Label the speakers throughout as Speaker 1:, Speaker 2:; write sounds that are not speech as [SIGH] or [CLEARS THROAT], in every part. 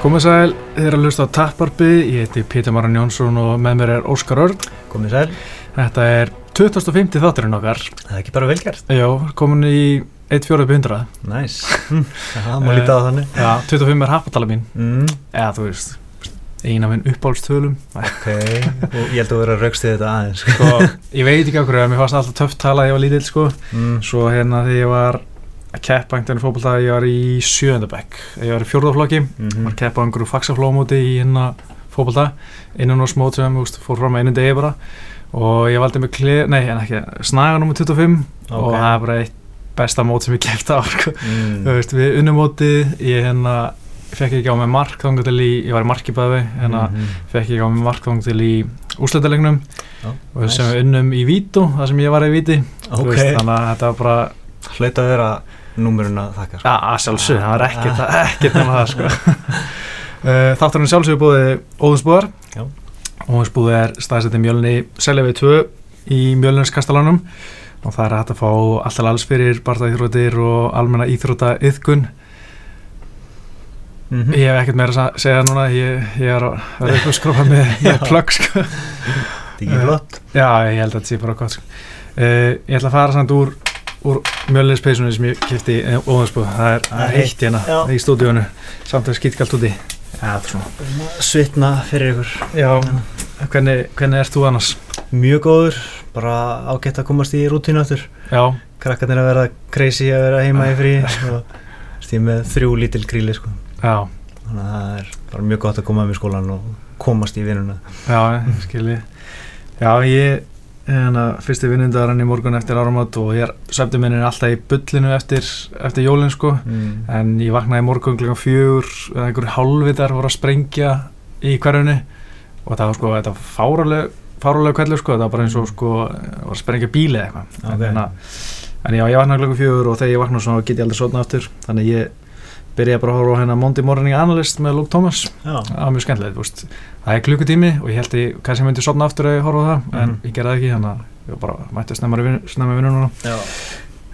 Speaker 1: Komið sæl, þið er að hlusta á Tapparpið, ég heiti Pítur Maran Jónsson og með mér er Óskar Örn.
Speaker 2: Komið sæl,
Speaker 1: Þetta er 2050 þátturinn okkar.
Speaker 2: það er ekki bara velgjart
Speaker 1: Jó, komin í 1.4.100.
Speaker 2: Næs, [LAUGHS] það má líta á þannig
Speaker 1: Já, 25 er happatala mín,
Speaker 2: mm,
Speaker 1: eða þú veist, eina minn uppáhaldstölum.
Speaker 2: Ok, og ég held að vera að raukstu þetta aðeins sko.
Speaker 1: Sko, ég veit ekki okkur, en mér fannst alltaf töfft tala þegar ég var lítill, sko.
Speaker 2: mm,
Speaker 1: Svo hérna þegar ég var að keppa einhvern fótbolta, ég var í sjöndabæk. Ég var í fjórðaflokki, var
Speaker 2: mm,
Speaker 1: að keppa á einhverju faxaflómóti í hérna fótbolta, innan og smót sem úst, fór fram einu degi bara og ég valdi mig klið, nei en ekki snaga nr. 25 og
Speaker 2: Ok.
Speaker 1: það er bara eitt besta mót sem ég kefti á sko. Þú
Speaker 2: mm,
Speaker 1: veist, við unnumótið, ég hérna fekk ekki á mig mark þangar til í ég var í markibæði, hérna
Speaker 2: mm,
Speaker 1: fekk ekki á mig mark þangar til í úrslutalegnum
Speaker 2: Já,
Speaker 1: og sem
Speaker 2: nice.
Speaker 1: við unnum í Vító, það sem ég var í Víti Þú
Speaker 2: Ok,
Speaker 1: veist, þannig að þetta var bara
Speaker 2: hlaut að vera númurinn að þakka sko.
Speaker 1: Já, að sjálfsög, það var ekkert, ekkert nema það sko. Ah. [LAUGHS] Eh, Þátturinn er sjálfsög búið Óðinsbúðar
Speaker 2: Já.
Speaker 1: Óðinsbúð er staðsetið mjölni selja við 2 í mjölninskastalanum og það er hægt að fá alltaf alls fyrir barðaíþrótir og almenna íþróta yðkun
Speaker 2: Mhm.
Speaker 1: Ég hef ekkert meira að segja núna ég, ég er að vera upp að skrófa með, [LAUGHS] með plögg sko.
Speaker 2: Þetta er ekki
Speaker 1: eh,
Speaker 2: flott
Speaker 1: Já, ég held að þetta sé bara gott sko. uh, Ég ætla að fara samt úr, úr mjölninspeysunni sem ég eh, kipti Óðinsbúð, það er, það er heitt hérna
Speaker 2: Já.
Speaker 1: í stúdíónu samt að skýtkalt úti Já, það er svona
Speaker 2: Svitna fyrir ykkur
Speaker 1: Já, hvernig, hvernig ert þú annars?
Speaker 2: Mjög góður, bara ágætt að komast í rútínu áttur
Speaker 1: Já,
Speaker 2: Krakkarnir að vera crazy að vera heima í [LAUGHS] frí og stíð með þrjú lítil gríli sko.
Speaker 1: já,
Speaker 2: Þannig að það er bara mjög gott að koma um í skólan og komast í vinnuna
Speaker 1: já, skilji Já, ég hérna, fyrsti vinnundarinn í morgun eftir áramat og ég er svefnum minn er alltaf í bullinu eftir, eftir jólinn sko
Speaker 2: mm.
Speaker 1: en ég vaknaði í morgun klukkan fjögur eða einhverju hálfvitar voru að sprengja í hverjunni og það var sko, þetta var fáraleg fáraleg kveldur sko, það var bara eins og sko var að sprengja bíli eða eitthvað
Speaker 2: Ok.
Speaker 1: en, hérna, en já, ég vaknaði klukkan fjögur og þegar ég vaknaði svona get ég aldrei svona aftur þannig ég byrjaði bara að horfa á hérna Monday Morning Analyst með Luke Thomas
Speaker 2: Já,
Speaker 1: það var mjög skemmtilegt, þú veist það er klukkutími og ég held ég kannski myndi sofna aftur ef ég horfa á það, en
Speaker 2: Mhm.
Speaker 1: ég gerði það ekki þannig að ég bara mætti snemma í vin- snemma í vinnuna
Speaker 2: já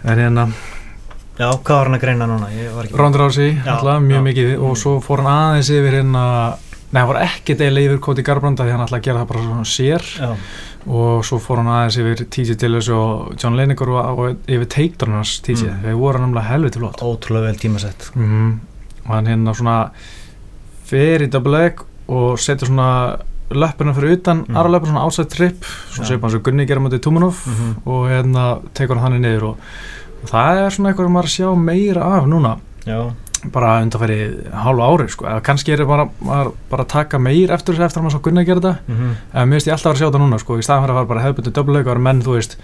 Speaker 1: en hérna,
Speaker 2: Já, hvað var hann að greina núna? Ég var ekki
Speaker 1: Rondur Rási,
Speaker 2: Já,
Speaker 1: alltaf, mjög
Speaker 2: já.
Speaker 1: mikið og
Speaker 2: Mm.
Speaker 1: svo fór hann aðeins yfir hérna Nei, hann var ekki deil yfir Koti Garbranda því hann ætlaði að gera það bara svona sér
Speaker 2: Já,
Speaker 1: og svo fór hann aðeins yfir TJ Dillis og John Lineker og, og yfir takedown hans TJ,
Speaker 2: Mm.
Speaker 1: þeir voru namlega helviti flott
Speaker 2: ótrúlega vel tímasett
Speaker 1: mm. og hann hérna svona fer í double leg og setur svona löppina fyrir utan,
Speaker 2: Mm.
Speaker 1: aðra löppina svona outside trip svona
Speaker 2: Já.
Speaker 1: segir hann svo Gunni gera mútið Tumanov
Speaker 2: mm -hmm.
Speaker 1: og hérna tekur hann þannig niður og, og það er svona eitthvað sem maður er að sjá meira af núna
Speaker 2: Já,
Speaker 1: bara undanfæri hálfu ári sko. eða kannski er ég bara, maður bara að taka meir eftir þessu eftir að maður svo gunna að gera þetta
Speaker 2: mm
Speaker 1: en mér finnst ég alltaf að vera að sjá þetta núna sko. í staðan fyrir að fara bara hefðbundi döbleik og vera menn þú veist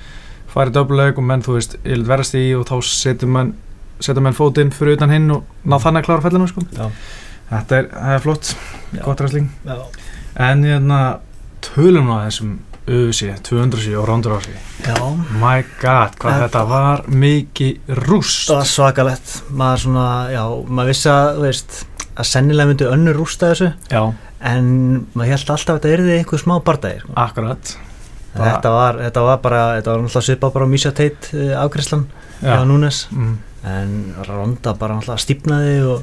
Speaker 1: fara í döbleik og menn þú veist yfirleitt verðast í og þá setjum menn setja menn fótinn fyrir utan hinn og ná þannig að klára fellinu sko.
Speaker 2: Já.
Speaker 1: þetta er, það er flott,
Speaker 2: Já.
Speaker 1: gott ræsling
Speaker 2: já
Speaker 1: en hérna tölum nú um að þessum öfusi, 200 og rándur ási
Speaker 2: Já,
Speaker 1: my god, hvað
Speaker 2: En-
Speaker 1: þetta var mikið rúst
Speaker 2: það var svakalett maður svona, já, maður vissi að þú veist, að sennilega myndi önnur rústa þessu
Speaker 1: já,
Speaker 2: en maður held alltaf að þetta yrði einhver smá bardægir sko.
Speaker 1: akkurat
Speaker 2: En þetta, var, þetta var bara, þetta var náttúrulega svipað bara á Misha Tate uh, afgræslan
Speaker 1: Já.
Speaker 2: hjá Núnes
Speaker 1: mm.
Speaker 2: en Ronda bara náttúrulega stífnaði og,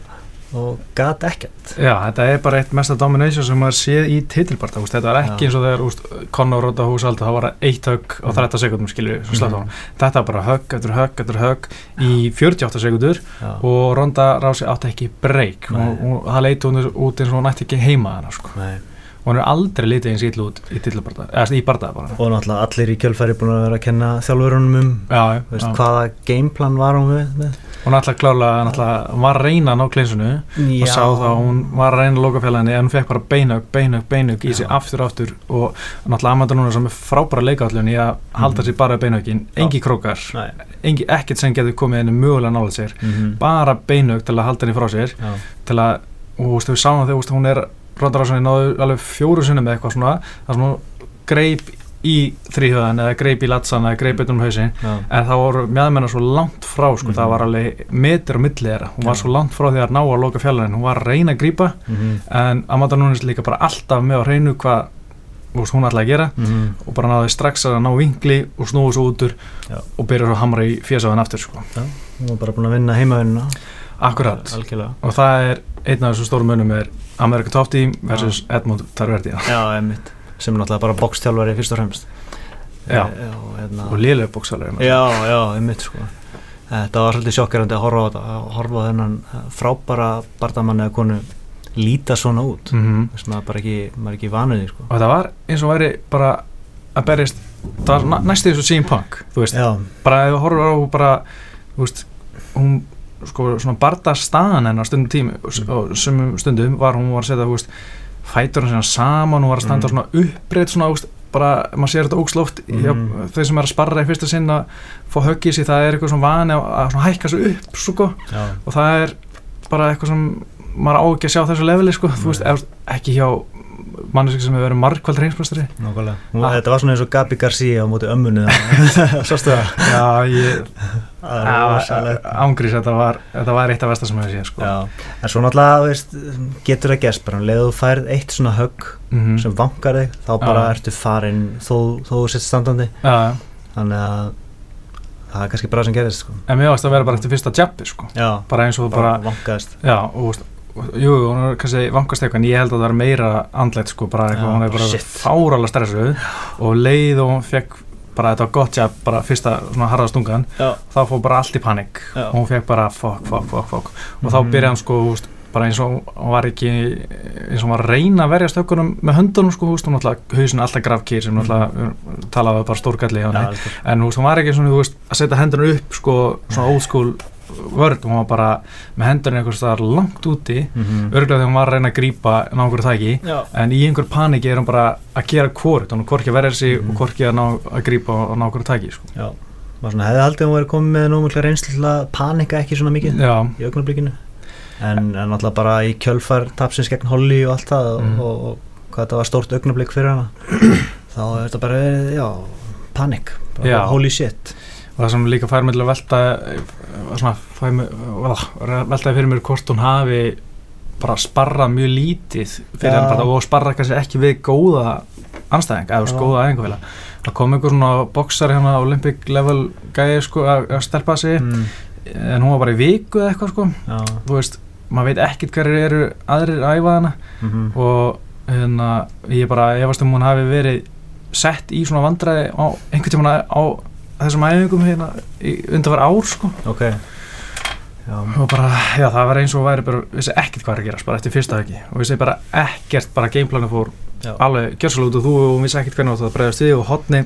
Speaker 2: og gat ekkert
Speaker 1: Já, þetta er bara eitt mesta domination sem maður séð í titilbarta, úst, þetta var ekki
Speaker 2: Já.
Speaker 1: eins og þegar úst, Conor Rodda húsaldi, það var eitt högg á
Speaker 2: Mhm.
Speaker 1: 30 sekundum skilju, svo slætt á
Speaker 2: Mhm.
Speaker 1: hann þetta var bara högg, eftir högg, eftir högg í 48 sekundur
Speaker 2: Já,
Speaker 1: og Ronda Rási átti ekki breyk
Speaker 2: Nei.
Speaker 1: og, og það leiti hún út eins og hún ætti ekki heima hana, sko.
Speaker 2: nei
Speaker 1: og hún er aldrei litið eins ítlu út í titilbarta, eða í barta bara
Speaker 2: og náttúrulega allir í kjölfæri búin að vera að kenna þjálfurunum um
Speaker 1: Já,
Speaker 2: þú
Speaker 1: já,
Speaker 2: veist,
Speaker 1: já.
Speaker 2: hvaða gameplan var hún við með?
Speaker 1: hún ætla klálega, hún ætla, hún var að reyna að ná klinsunu
Speaker 2: Já,
Speaker 1: og sá þá að hún var að reyna að loka félaginu en hún fekk bara beinög, beinög, beinög í sig
Speaker 2: Já.
Speaker 1: aftur og aftur og náttúrulega Amanda núna sem er frábæra leikallun í að halda
Speaker 2: Mhm.
Speaker 1: sér bara beinögin, engi krókar
Speaker 2: Nei.
Speaker 1: engi, ekkert sem getur komið henni mögulega nála sér
Speaker 2: Mhm.
Speaker 1: bara beinög til að halda henni frá sér
Speaker 2: Já.
Speaker 1: til að, og þú veist, við sáum þegar þú veist, hún er Rondarásinni náðu alveg fjóru sinni með eitthvað svona, það sem hún greip í þrýhöðan eða greip í latsan eða greip utan um hausin
Speaker 2: Já.
Speaker 1: en það voru meðmennar svo langt frá sko,
Speaker 2: Mhm.
Speaker 1: það var alveg metur á milli þeirra hún var
Speaker 2: Já.
Speaker 1: svo langt frá því að ná að loka fjallarinn hún var að reyna að grípa
Speaker 2: Mhm.
Speaker 1: en Amanda Nunes líka bara alltaf með á hreinu hvað þú veist, hún ætlaði að gera
Speaker 2: Mhm.
Speaker 1: og bara náði strax að ná vinkli og snúi svo útur
Speaker 2: Já.
Speaker 1: og byrja svo að hamra í fjesaðan aftur sko.
Speaker 2: Hún var bara búin að vinna heimavinnuna
Speaker 1: akkurat
Speaker 2: Algjörlega
Speaker 1: og það er einn af þessum stórum munum er America Top Team versus Edmund Tarverdi
Speaker 2: já, einmitt sem er náttúrulega bara bokstjálfari fyrst og fremst
Speaker 1: Já.
Speaker 2: Eh, og, hérna,
Speaker 1: og liðlega bóksalari
Speaker 2: já, já, einmitt sko þetta var svolítið sjokkerandi að horfa á þetta að horfa á þennan eh, frábæra bardamann eða konu líta svona út
Speaker 1: mm
Speaker 2: þess að maður bara ekki, maður er ekki vanuði sko
Speaker 1: og þetta var eins og væri bara að berjast það var na- næstu eins og CM Punk þú veist,
Speaker 2: já,
Speaker 1: bara ef þú horfur á bara, þú veist, hún sko svona barda staðan hennar stundum tími og sumum stundum var hún var að setja, þú veist, fæturinn sinna saman hún var að standa
Speaker 2: Mm.
Speaker 1: svona uppreitt svona, þú veist, bara, maður sér þetta óksloft mm.
Speaker 2: Mm.
Speaker 1: hjá, þau sem er að sparra í fyrsta sinn að fá höggið sér, það er eitthvað svona vani að, að svona hækka svo upp, sko
Speaker 2: já,
Speaker 1: og það er bara eitthvað sem maður á ekki að sjá á þessu leveli, sko, þú veist,
Speaker 2: Nei.
Speaker 1: ef, ekki hjá manneski sem hefur verið margkvæld reynsmestari
Speaker 2: nákvæmlega Hún- þetta var svona eins og Gabi Garcia á móti ömmunni [LAUGHS] sástu það Ah,
Speaker 1: Já, ég
Speaker 2: það er rosalegt.
Speaker 1: ángrís, þetta var, þetta var eitt af vestar sem hefur séð sko.
Speaker 2: Já, en svo náttúrulega þú veist, getur það gerst bara, um leðu þú færð eitt svona högg
Speaker 1: Mhm.
Speaker 2: sem vankar þig, þá bara
Speaker 1: Já.
Speaker 2: ertu farinn þó, þó þú sett standandi
Speaker 1: Já, já.
Speaker 2: þannig að það er kannski bara sem gerist sko.
Speaker 1: en mér ást að vera bara eftir fyrsta jabbi sko.
Speaker 2: já,
Speaker 1: bara eins og
Speaker 2: bara
Speaker 1: bara,
Speaker 2: vankaðist
Speaker 1: já, og þú veist, og- jú, jú, hún er kannski vankast eitthvað en ég held að það var meira andlegt sko, bara eitthvað,
Speaker 2: Já,
Speaker 1: hún er bara
Speaker 2: shit.
Speaker 1: fáralega stressuð og leið og hún fekk bara þetta gott jab, bara fyrsta svona harða stungan,
Speaker 2: já,
Speaker 1: þá fór bara allt í panik
Speaker 2: Já.
Speaker 1: og hún fekk bara fuck, fuck, fuck, fuck og þá
Speaker 2: Mhm.
Speaker 1: byrjaði hann sko, þú veist, bara eins og hún var ekki eins og hún var að reyna að verja stökkunum með höndunum sko, þú veist, hún alltaf hausin alltaf grafkýr sem
Speaker 2: Mhm.
Speaker 1: alltaf eh, talaði bara stórgalli hjá henni
Speaker 2: algjör.
Speaker 1: en þú veist, hún var ekki svona, þú veist, að setja hendunar upp sko, svona old school vörd hún var bara með hendunar einhvers staðar langt úti,
Speaker 2: Mhm.
Speaker 1: örgulega þegar hún var að reyna að grípa ná einhverju þæki,
Speaker 2: já,
Speaker 1: en í einhver paniki er hún bara að gera hvort, hún er hvorki að verja sig
Speaker 2: Mhm.
Speaker 1: og hvorki að, ná, að grípa og ná einhverju þæki, sko
Speaker 2: já maður svona hefði haldið að hún verið komið með nóg mjög reynslu til að panika ekki svona mikið
Speaker 1: Já,
Speaker 2: í augnablikinu en, en alltaf bara í kjölfar tapsins gegn Holly og allt það og-
Speaker 1: Mhm.
Speaker 2: og, og hvað þetta var stórt augnablik fyrir hana þá er þetta bara, verið, já, panik bara
Speaker 1: Já.
Speaker 2: holy shit
Speaker 1: og það sem líka fær mig til að velta eh, svona, fær mig, uh, veltaði fyrir mér hvort hún hafi bara sparrað mjög lítið fyrir
Speaker 2: Já.
Speaker 1: hann bara og sparrað kannski ekki við góða anstæðing, eða þú veist,
Speaker 2: Já.
Speaker 1: góða æfingafélag það kom einhver svona boksari hérna Olympic level gæði sko að að stelpa sig
Speaker 2: mm.
Speaker 1: en hún var bara í viku eða eitthvað sko
Speaker 2: já,
Speaker 1: þú veist, maður veit ekkert hverju eru aðrir að æfa hana
Speaker 2: mhm.
Speaker 1: og hérna, ég bara efast um hún hafi verið sett í svona vandræði á einhvern tímann á þessum æfingum hérna undan var ár sko
Speaker 2: ok já,
Speaker 1: og bara, já það var eins og væri bara vissi ekkert hvað er að gerast, bara eftir fyrsta höggi og vissi bara ekkert, bara gameplanu fór
Speaker 2: Já.
Speaker 1: alveg gjörsalút og þú og hún vissi ekkert hvernig átt að bregðast við og hotni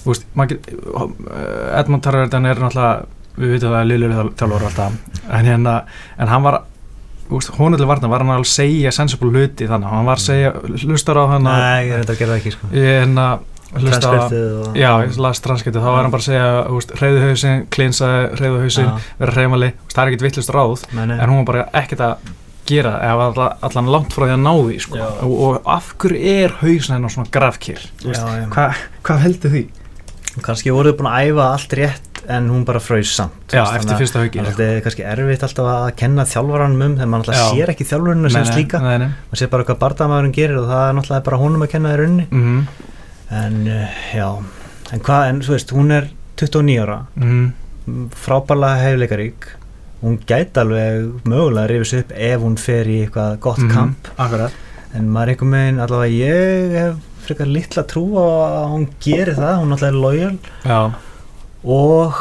Speaker 1: þú veist, maður get, eh, Edmund Tarverðan er náttúrulega við veitum það að Lillur þjálfur alltaf en hérna, en hann var þú veist, hún allir varna, var hann alveg að segja sensible hluti þannig, hann var að segja hlustar á hann
Speaker 2: nei, ég reynda að gera það ekki sko.
Speaker 1: hérna, hlustar á
Speaker 2: transkriptið og
Speaker 1: Já, ég las transkiptið, þá var hann bara að segja reyðu hausinn, klinsaði reyðu hausinn
Speaker 2: Já.
Speaker 1: vera reymali, það er ekkert vittlust ráð
Speaker 2: Nei, nei.
Speaker 1: en hún var bara ekkert að gera eða var alla- allan langt frá því að ná því sko.
Speaker 2: Já.
Speaker 1: og, og af hverju er hausin hennar svona grafkýr
Speaker 2: já, já.
Speaker 1: Hva, hvað heldur því?
Speaker 2: kannski voruð búin að æfa allt rétt en hún bara fröys samt
Speaker 1: Já,
Speaker 2: Þú veist,
Speaker 1: eftir
Speaker 2: þannig að-
Speaker 1: fyrsta haugi
Speaker 2: þannig að þetta er kannski erfitt alltaf að kenna þjálfaranum um þegar maður alltaf
Speaker 1: Já.
Speaker 2: sér ekki þjálfarinu sem slíka
Speaker 1: nei, nei.
Speaker 2: maður sé bara hvað barndamæðurinn gerir og það er náttúrulega bara honum að kenna þér unni
Speaker 1: Mm,
Speaker 2: en uh, já, en hvað, en þú veist hún er 29 ára,
Speaker 1: mm,
Speaker 2: m, frábærlega hefleikarík hún gæti alveg mögulega að rifis upp ef hún fer í eitthvað gott
Speaker 1: Mhm.
Speaker 2: kamp
Speaker 1: Akkurat
Speaker 2: en maður er einhvern veginn, allavega ég hef frekar litla trú á að hún gerir það, hún náttúrulega er lojal
Speaker 1: Já,
Speaker 2: og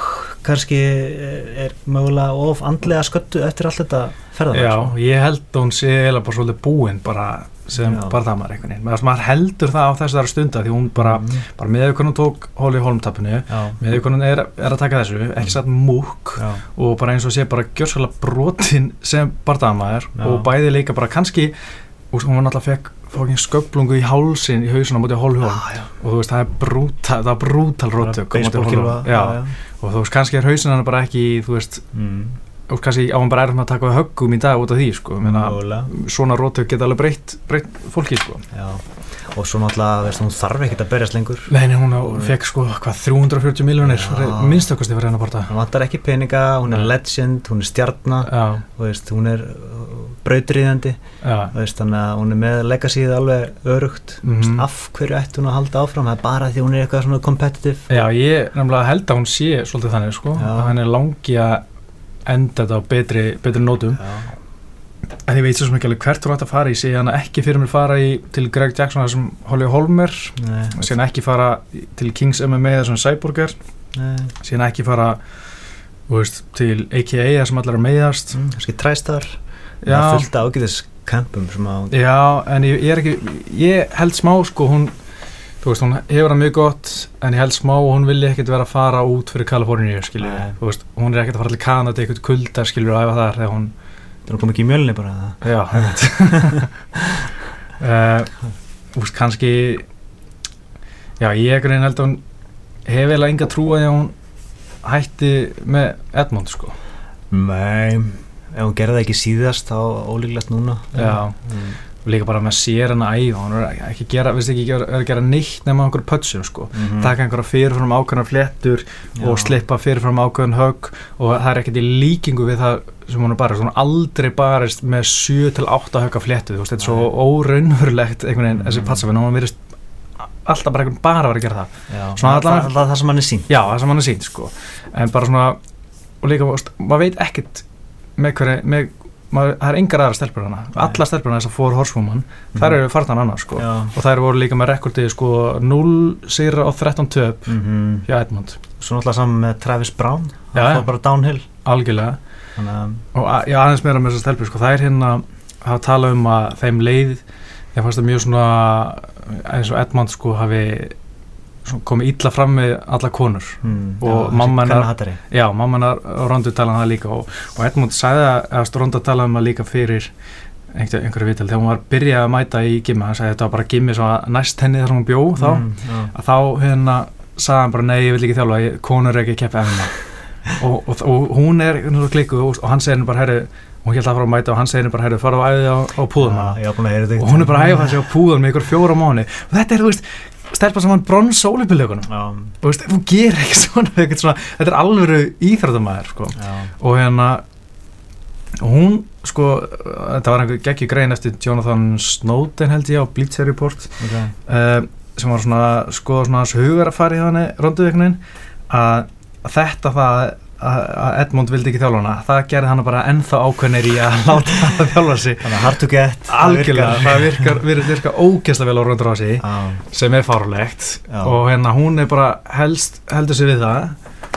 Speaker 2: kannski eh, er mögulega of andlega sköttu eftir allt þetta sko. ferðar
Speaker 1: já ég held að hún sé eiginlega bara svolítið búin bara sem
Speaker 2: Já.
Speaker 1: bara það maður einhvern veginn Meðan maður heldur það á þessari stunda því hún
Speaker 2: Mm.
Speaker 1: bara, bara með hvernig hún tók hóli í holmtappinu
Speaker 2: Mhm. já,
Speaker 1: með hvernig hún er, er að taka þessu ekki satt múk
Speaker 2: já,
Speaker 1: og bara eins og sé bara gjörsala brotin sem bardamaður
Speaker 2: Já.
Speaker 1: og bæði leika bara kannski og hún var náttúrulega fekk fókin sköplungu í hálsin í hausuna mútið hólhjón
Speaker 2: já, já.
Speaker 1: og þú veist það er brútal, það er brútal róttök
Speaker 2: Baseballkylfa,
Speaker 1: já, og þú veist kannski er hausin hann bara ekki þú veist,
Speaker 2: Mm.
Speaker 1: og kannski á hann bara erfum að taka við höggum í dag út af því sko, menna
Speaker 2: Mögulega.
Speaker 1: svona róttök geta alveg breytt, breytt fólki sko
Speaker 2: Já, og svo náttúrulega, veist, hún þarf ekkert að berjast lengur.
Speaker 1: Nei, nei, hún fekk sko hvað 340 miljonir
Speaker 2: Já.
Speaker 1: minnstökusti fyrir hennar borta
Speaker 2: Hún vantar ekki peninga, hún er
Speaker 1: Nei.
Speaker 2: legend, hún er stjarna,
Speaker 1: Já,
Speaker 2: og veist, hún er uh, brautriðandi,
Speaker 1: já,
Speaker 2: og veist, þannig að hún er með legacyð alveg örugt.
Speaker 1: Mhm.
Speaker 2: Mm. Af hverju ætti hún að halda áfram? Það er bara því hún er eitthvað svona competitive.
Speaker 1: Já, ég nefnilega held að hún sé svolítið þannig sko,
Speaker 2: Já.
Speaker 1: að hann er langi að enda þetta á betri, betri nótum
Speaker 2: Já.
Speaker 1: en ég veit svo sem ekki alveg hvert þú átt að fara í síðan ekki fyrir mér fara í til Greg Jackson þar sem Holly Holmer
Speaker 2: Nei,
Speaker 1: síðan ekki fara til Kings MMA þar sem Cyborg er
Speaker 2: nei,
Speaker 1: síðan ekki fara þú veist, til AKA þar sem allar er meiðast
Speaker 2: mm, kannski træstar það er
Speaker 1: já,
Speaker 2: fullt af ágætis kampum sem að hún
Speaker 1: já, en ég, ég er ekki ég held smá sko hún þú veist, hún hefur það mjög gott en ég held smá og hún vilja ekkert vera að fara út fyrir Kaliforníu, skilju
Speaker 2: Nei.
Speaker 1: þú veist, hún er ekkert að fara til Kanada eitthvað kulda, skilju, að æfa þar þegar hún
Speaker 2: það kom ekki í mjölni bara það
Speaker 1: Já, einmitt Þú veist, kannski Já, ég einhvern veginn held að hún hefur eiginlega enga trú að hún hætti með Edmund, sko
Speaker 2: Nei, ef hún gerði það ekki síðast þá ólíklegt núna
Speaker 1: Já,
Speaker 2: Mm.
Speaker 1: og líka bara með sér hann að æfa hún er ekki- ekki að gera, veist ekki, er að gera neitt nema einhverjum pötsum, sko
Speaker 2: Mhm.
Speaker 1: taka einhverja fyrirfram ákveðna fléttur
Speaker 2: mm-hmm. Já.
Speaker 1: og slippa fyrirfram ákveðin högg og það er ekkert í líkingu við það sem hún er barist, hún er aldrei barist með 7-8 högga fléttu, þú veist, þetta er svo óraunverulegt einhvern veginn, þessi
Speaker 2: Mhm.
Speaker 1: patsafinn, hún virðist alltaf bara einhvern bara að vera að gera það
Speaker 2: Já.
Speaker 1: Svona
Speaker 2: Það-
Speaker 1: allavega-
Speaker 2: það- það sem hann er sín
Speaker 1: já, það sem hann er sínt, sko en bara svona, og líka, þú veist, maður veit ekkert með hverju, með maður, það er engar aðra stelpur hana,
Speaker 2: Nei. Mhm.
Speaker 1: alla stelpur hana þessar fór horswoman, þær eru fartan annað, sko
Speaker 2: Já.
Speaker 1: og þær voru líka með rekordið, sko 0 sigra og 13 töp
Speaker 2: Mhm.
Speaker 1: hjá Edmund,
Speaker 2: Svo náttúrulega saman með Travis Brown
Speaker 1: Já,
Speaker 2: hann
Speaker 1: já.
Speaker 2: fór bara downhill
Speaker 1: algjörlega
Speaker 2: þannig að
Speaker 1: og að- já, aðeins meira með þessar stelpur sko. það er hérna að tala um að þeim leið ég fannst það mjög svona eins og Edmund sko hafi svona komið illa fram með alla konur
Speaker 2: mm,
Speaker 1: Og mamma hennar-
Speaker 2: hennar hattari
Speaker 1: já, mammanar og Rondu tala um það líka og, og Edmund sagði að, að Rondu tala um það líka fyrir einhver, einhverju vital þegar hún var byrjaði að mæta í gimmi hann sagði þetta var bara gimmi svo að næst henni þar sem hún bjó þá
Speaker 2: mm, já.
Speaker 1: að þá hérna sagði hann bara nei, ég vil ekki þjálfa, ég, konur er ekki að keppa MMA
Speaker 2: [LAUGHS]
Speaker 1: og, og, og hún er klikkuð og, og hann segir henni bara herri hún held að fara að mæta og hann segir henni bara herri fara á æði á, á púðum
Speaker 2: Já,
Speaker 1: hana
Speaker 2: ég var búin að heyra þetta
Speaker 1: og hún er bara að æfa þessi á púðum með ykkur fjóra mánu og þetta er, þú veist, stelpa sem hann brons ólipilökunum
Speaker 2: já,
Speaker 1: og veist, þú gerir ekki [LAUGHS] svona, ekkert svona þetta er alvöru íþrættamæður sko.
Speaker 2: já,
Speaker 1: og hérna og hún sko, þetta var einhver geggjur grein eftir Jonathan Snowden held ég á Bleacher Report
Speaker 2: ok
Speaker 1: uh, sem var svona að skoða svona hans hugarafari hjá henni rönduveiknin að að þetta það að að Edmund vildi ekki þjálfa hana það gerði hana bara ennþá ákveðnir í að [LAUGHS] láta hana þjálfa sig
Speaker 2: þannig að hard to get það
Speaker 1: algjörlega,
Speaker 2: virkar.
Speaker 1: það virkar, virðist virka ógeðslega vel á röndur á sig
Speaker 2: já,
Speaker 1: sem er fárlegt
Speaker 2: Já.
Speaker 1: og hérna hún er bara helst, heldur sig við það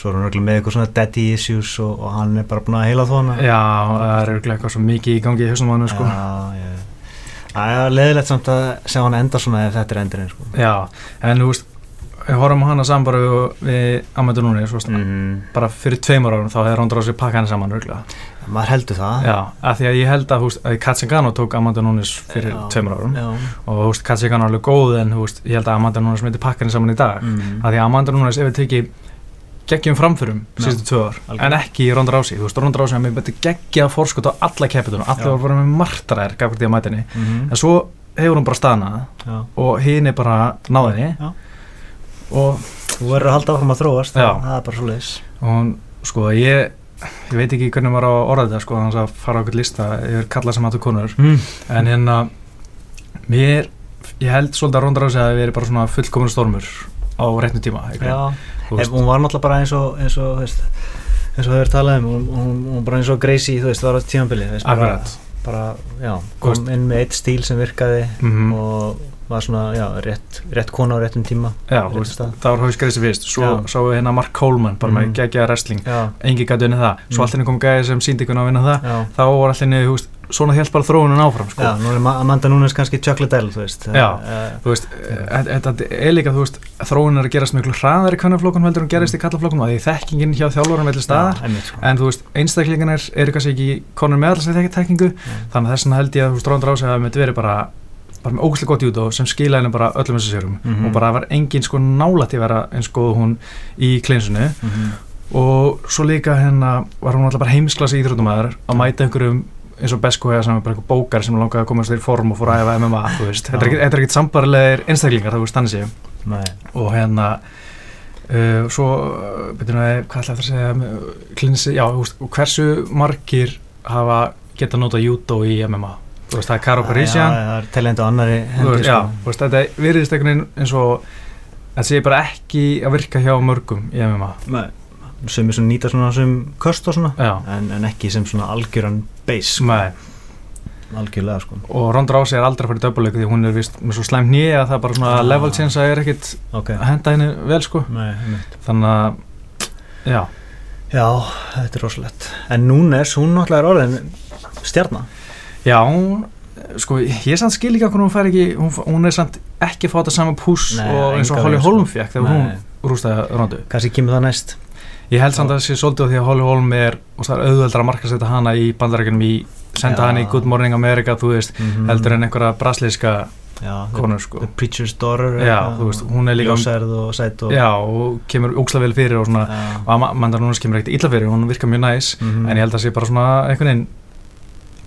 Speaker 2: svo er hún örugglega með eitthvað svona daddy issues og, og hann er bara búin að heila þó hana
Speaker 1: já, það er örugglega eitthvað svo mikið í gangi í hausnum á henni sko
Speaker 2: Já, já. Það er leðilegt samt að sjá hann enda svona ef þetta er endurinn sko.
Speaker 1: já, en þú veist við horfum á hana saman bara við- við Amandur Núni, svo veist
Speaker 2: mm.
Speaker 1: bara fyrir tveimur árum þá hefði Rondur á sig pakkað henni saman örglega
Speaker 2: Maður heldur það
Speaker 1: Já, af því að ég held að, húst, að Katsingano tók Amanda Nunes fyrir
Speaker 2: Já,
Speaker 1: tveimur árum
Speaker 2: já.
Speaker 1: og húst, Katsingano er alveg góð en húst, ég held að Amanda Nunes myndi pakka henni saman í dag
Speaker 2: Mm.
Speaker 1: af því að Amanda Nunes hefur tekið geggjum framförum
Speaker 2: Já,
Speaker 1: síðustu tvö ár
Speaker 2: algjörlega.
Speaker 1: en ekki í Ronda Rási, þú veist, Ronda Rási hann myndi geggja forskot á alla keppitunum
Speaker 2: Já.
Speaker 1: allir voru bara með martraðir gafur því að mæta henni
Speaker 2: Mhm.
Speaker 1: en svo hefur hún bara stanað
Speaker 2: Já.
Speaker 1: og hinn er bara náðinni
Speaker 2: Já.
Speaker 1: og
Speaker 2: Þú verður að halda áfram að þróast
Speaker 1: Já.
Speaker 2: Það er bara svo leiðis
Speaker 1: og hún, sko, ég ég veit ekki hvernig maður á að orða þetta sko, þannig að fara á okkur lista yfir kalla sem hattu konur
Speaker 2: mm.
Speaker 1: en hérna mér, ég held svolítið að Ronda Rousey að það veri bara svona fullkomur stormur á réttum tíma
Speaker 2: Já,
Speaker 1: einhvern veginn, þú
Speaker 2: Ef,
Speaker 1: veist.
Speaker 2: hún var náttúrulega bara eins og eins og, þú veist, eins og þau verður talað um hún, hún, hún bara eins og Gracie, þú veist, var á tímanbili þú veist, bara,
Speaker 1: Akkurat.
Speaker 2: bara, já,
Speaker 1: Þú
Speaker 2: kom inn með eitt stíl sem virkaði
Speaker 1: Mhm.
Speaker 2: og var svona, já, rétt, rétt kona á réttum tíma
Speaker 1: Já,
Speaker 2: réttum
Speaker 1: þú veist,
Speaker 2: stað.
Speaker 1: það var hausgreisi fyrst svo
Speaker 2: Já.
Speaker 1: sáum við hérna Mark Coleman bara
Speaker 2: Mhm.
Speaker 1: með geggjað wrestling,
Speaker 2: Já,
Speaker 1: engi gæti unni það svo
Speaker 2: Mm.
Speaker 1: allt henni kom gæði sem síndi einhvern á að vinna það
Speaker 2: já
Speaker 1: þá var allt henni, þú veist, svona held bara þróunin áfram sko.
Speaker 2: Já, nú er Ma- Amanda Nunes kannski Chocolate L, þú veist.
Speaker 1: Já.
Speaker 2: Eh,
Speaker 1: þú veist, eh, þetta er líka þú veist, þróunin er að gerast miklu hraðar í kannaflokkunum heldur en gerist í kallaflokkunum, að því þekkingin hjá þjálfurum veldur staðar,
Speaker 2: Já, einmitt, sko.
Speaker 1: en þú veist, einstaklingarnir eru kannski ekki konur með allar sem þekkja tekningu þannig að þess vegna held ég að þú veist, Ronda Rousey hafi myndi verið bara bara með ógæslega gott júdó sem skila henni bara öllum þessu sérum
Speaker 2: Mhm.
Speaker 1: og bara var engin sko nálætt í að vera eins góð og hún í klinsinu
Speaker 2: Mhm.
Speaker 1: og svo líka hérna var hún alltaf bara heimsklasi íþróttumæður að mæta einhverjum eins og Besko eða sem er bara einhver bókar sem langaði að komast þér í form og fór að æfa MMA þú veist, þetta er ekkit- þetta er ekkert sambarilegir einstaklingar þú veist, þannig séu
Speaker 2: Nei,
Speaker 1: og hérna uh, svo, uh, betur nú að hvað ætla ég aftur að segja um, klinsi, já, þú veist, og hversu margir hafa geta nota judo í MMA þú veist, það er Karo
Speaker 2: Já,
Speaker 1: Parísian
Speaker 2: já, það er teljandi á annari
Speaker 1: þú
Speaker 2: hendi,
Speaker 1: veist, já, þú veist, þetta virðist einhvern veginn eins og þetta sé bara ekki að virka hjá mörgum í MMA
Speaker 2: sko. Nei, sem er svona nýta svona sem köst og svona
Speaker 1: já,
Speaker 2: en, en ekki sem svona algjöran base sko,
Speaker 1: nei
Speaker 2: algjörlega sko
Speaker 1: og Ronda Rousey er aldrei að fara í döpuleik því hún er vist með svo slæm nýja að það er bara svona
Speaker 2: Ah.
Speaker 1: level change að er ekkit
Speaker 2: ok
Speaker 1: að henda henni vel sko
Speaker 2: Nei, einmitt.
Speaker 1: þannig að, já,
Speaker 2: já, þetta er rosalegt en Núnes, hún náttúrulega er orðin stjarnar
Speaker 1: já hún- sko, ég samt skil ekki að hún fær ekki hún, hún er samt ekki að fá þetta sama pús
Speaker 2: Nei,
Speaker 1: og eins og
Speaker 2: engan
Speaker 1: Holly
Speaker 2: veginn, sko.
Speaker 1: Holm fekk þegar hún rústaði Rondu
Speaker 2: kannski kemur það næst
Speaker 1: Ég held samt að það sé svolítið á því að Holly Holm er og það er auðveldra að marka setja hana í bandarækjunum í senda
Speaker 2: Já.
Speaker 1: hana í Good Morning America þú veist,
Speaker 2: Mhm.
Speaker 1: heldur en einhverja brasleiska
Speaker 2: já, the-
Speaker 1: konur sko
Speaker 2: The Preacher's Daughter
Speaker 1: Já, þú veist, hún er líka
Speaker 2: ljósærð og sæt og
Speaker 1: Já, og kemur óksla vel fyrir og svona og Amanda Nunes kemur ekkert illa fyrir, hún virkar mjög næs
Speaker 2: Mhm. Mm.
Speaker 1: en ég held að það sé bara svona einhvern veginn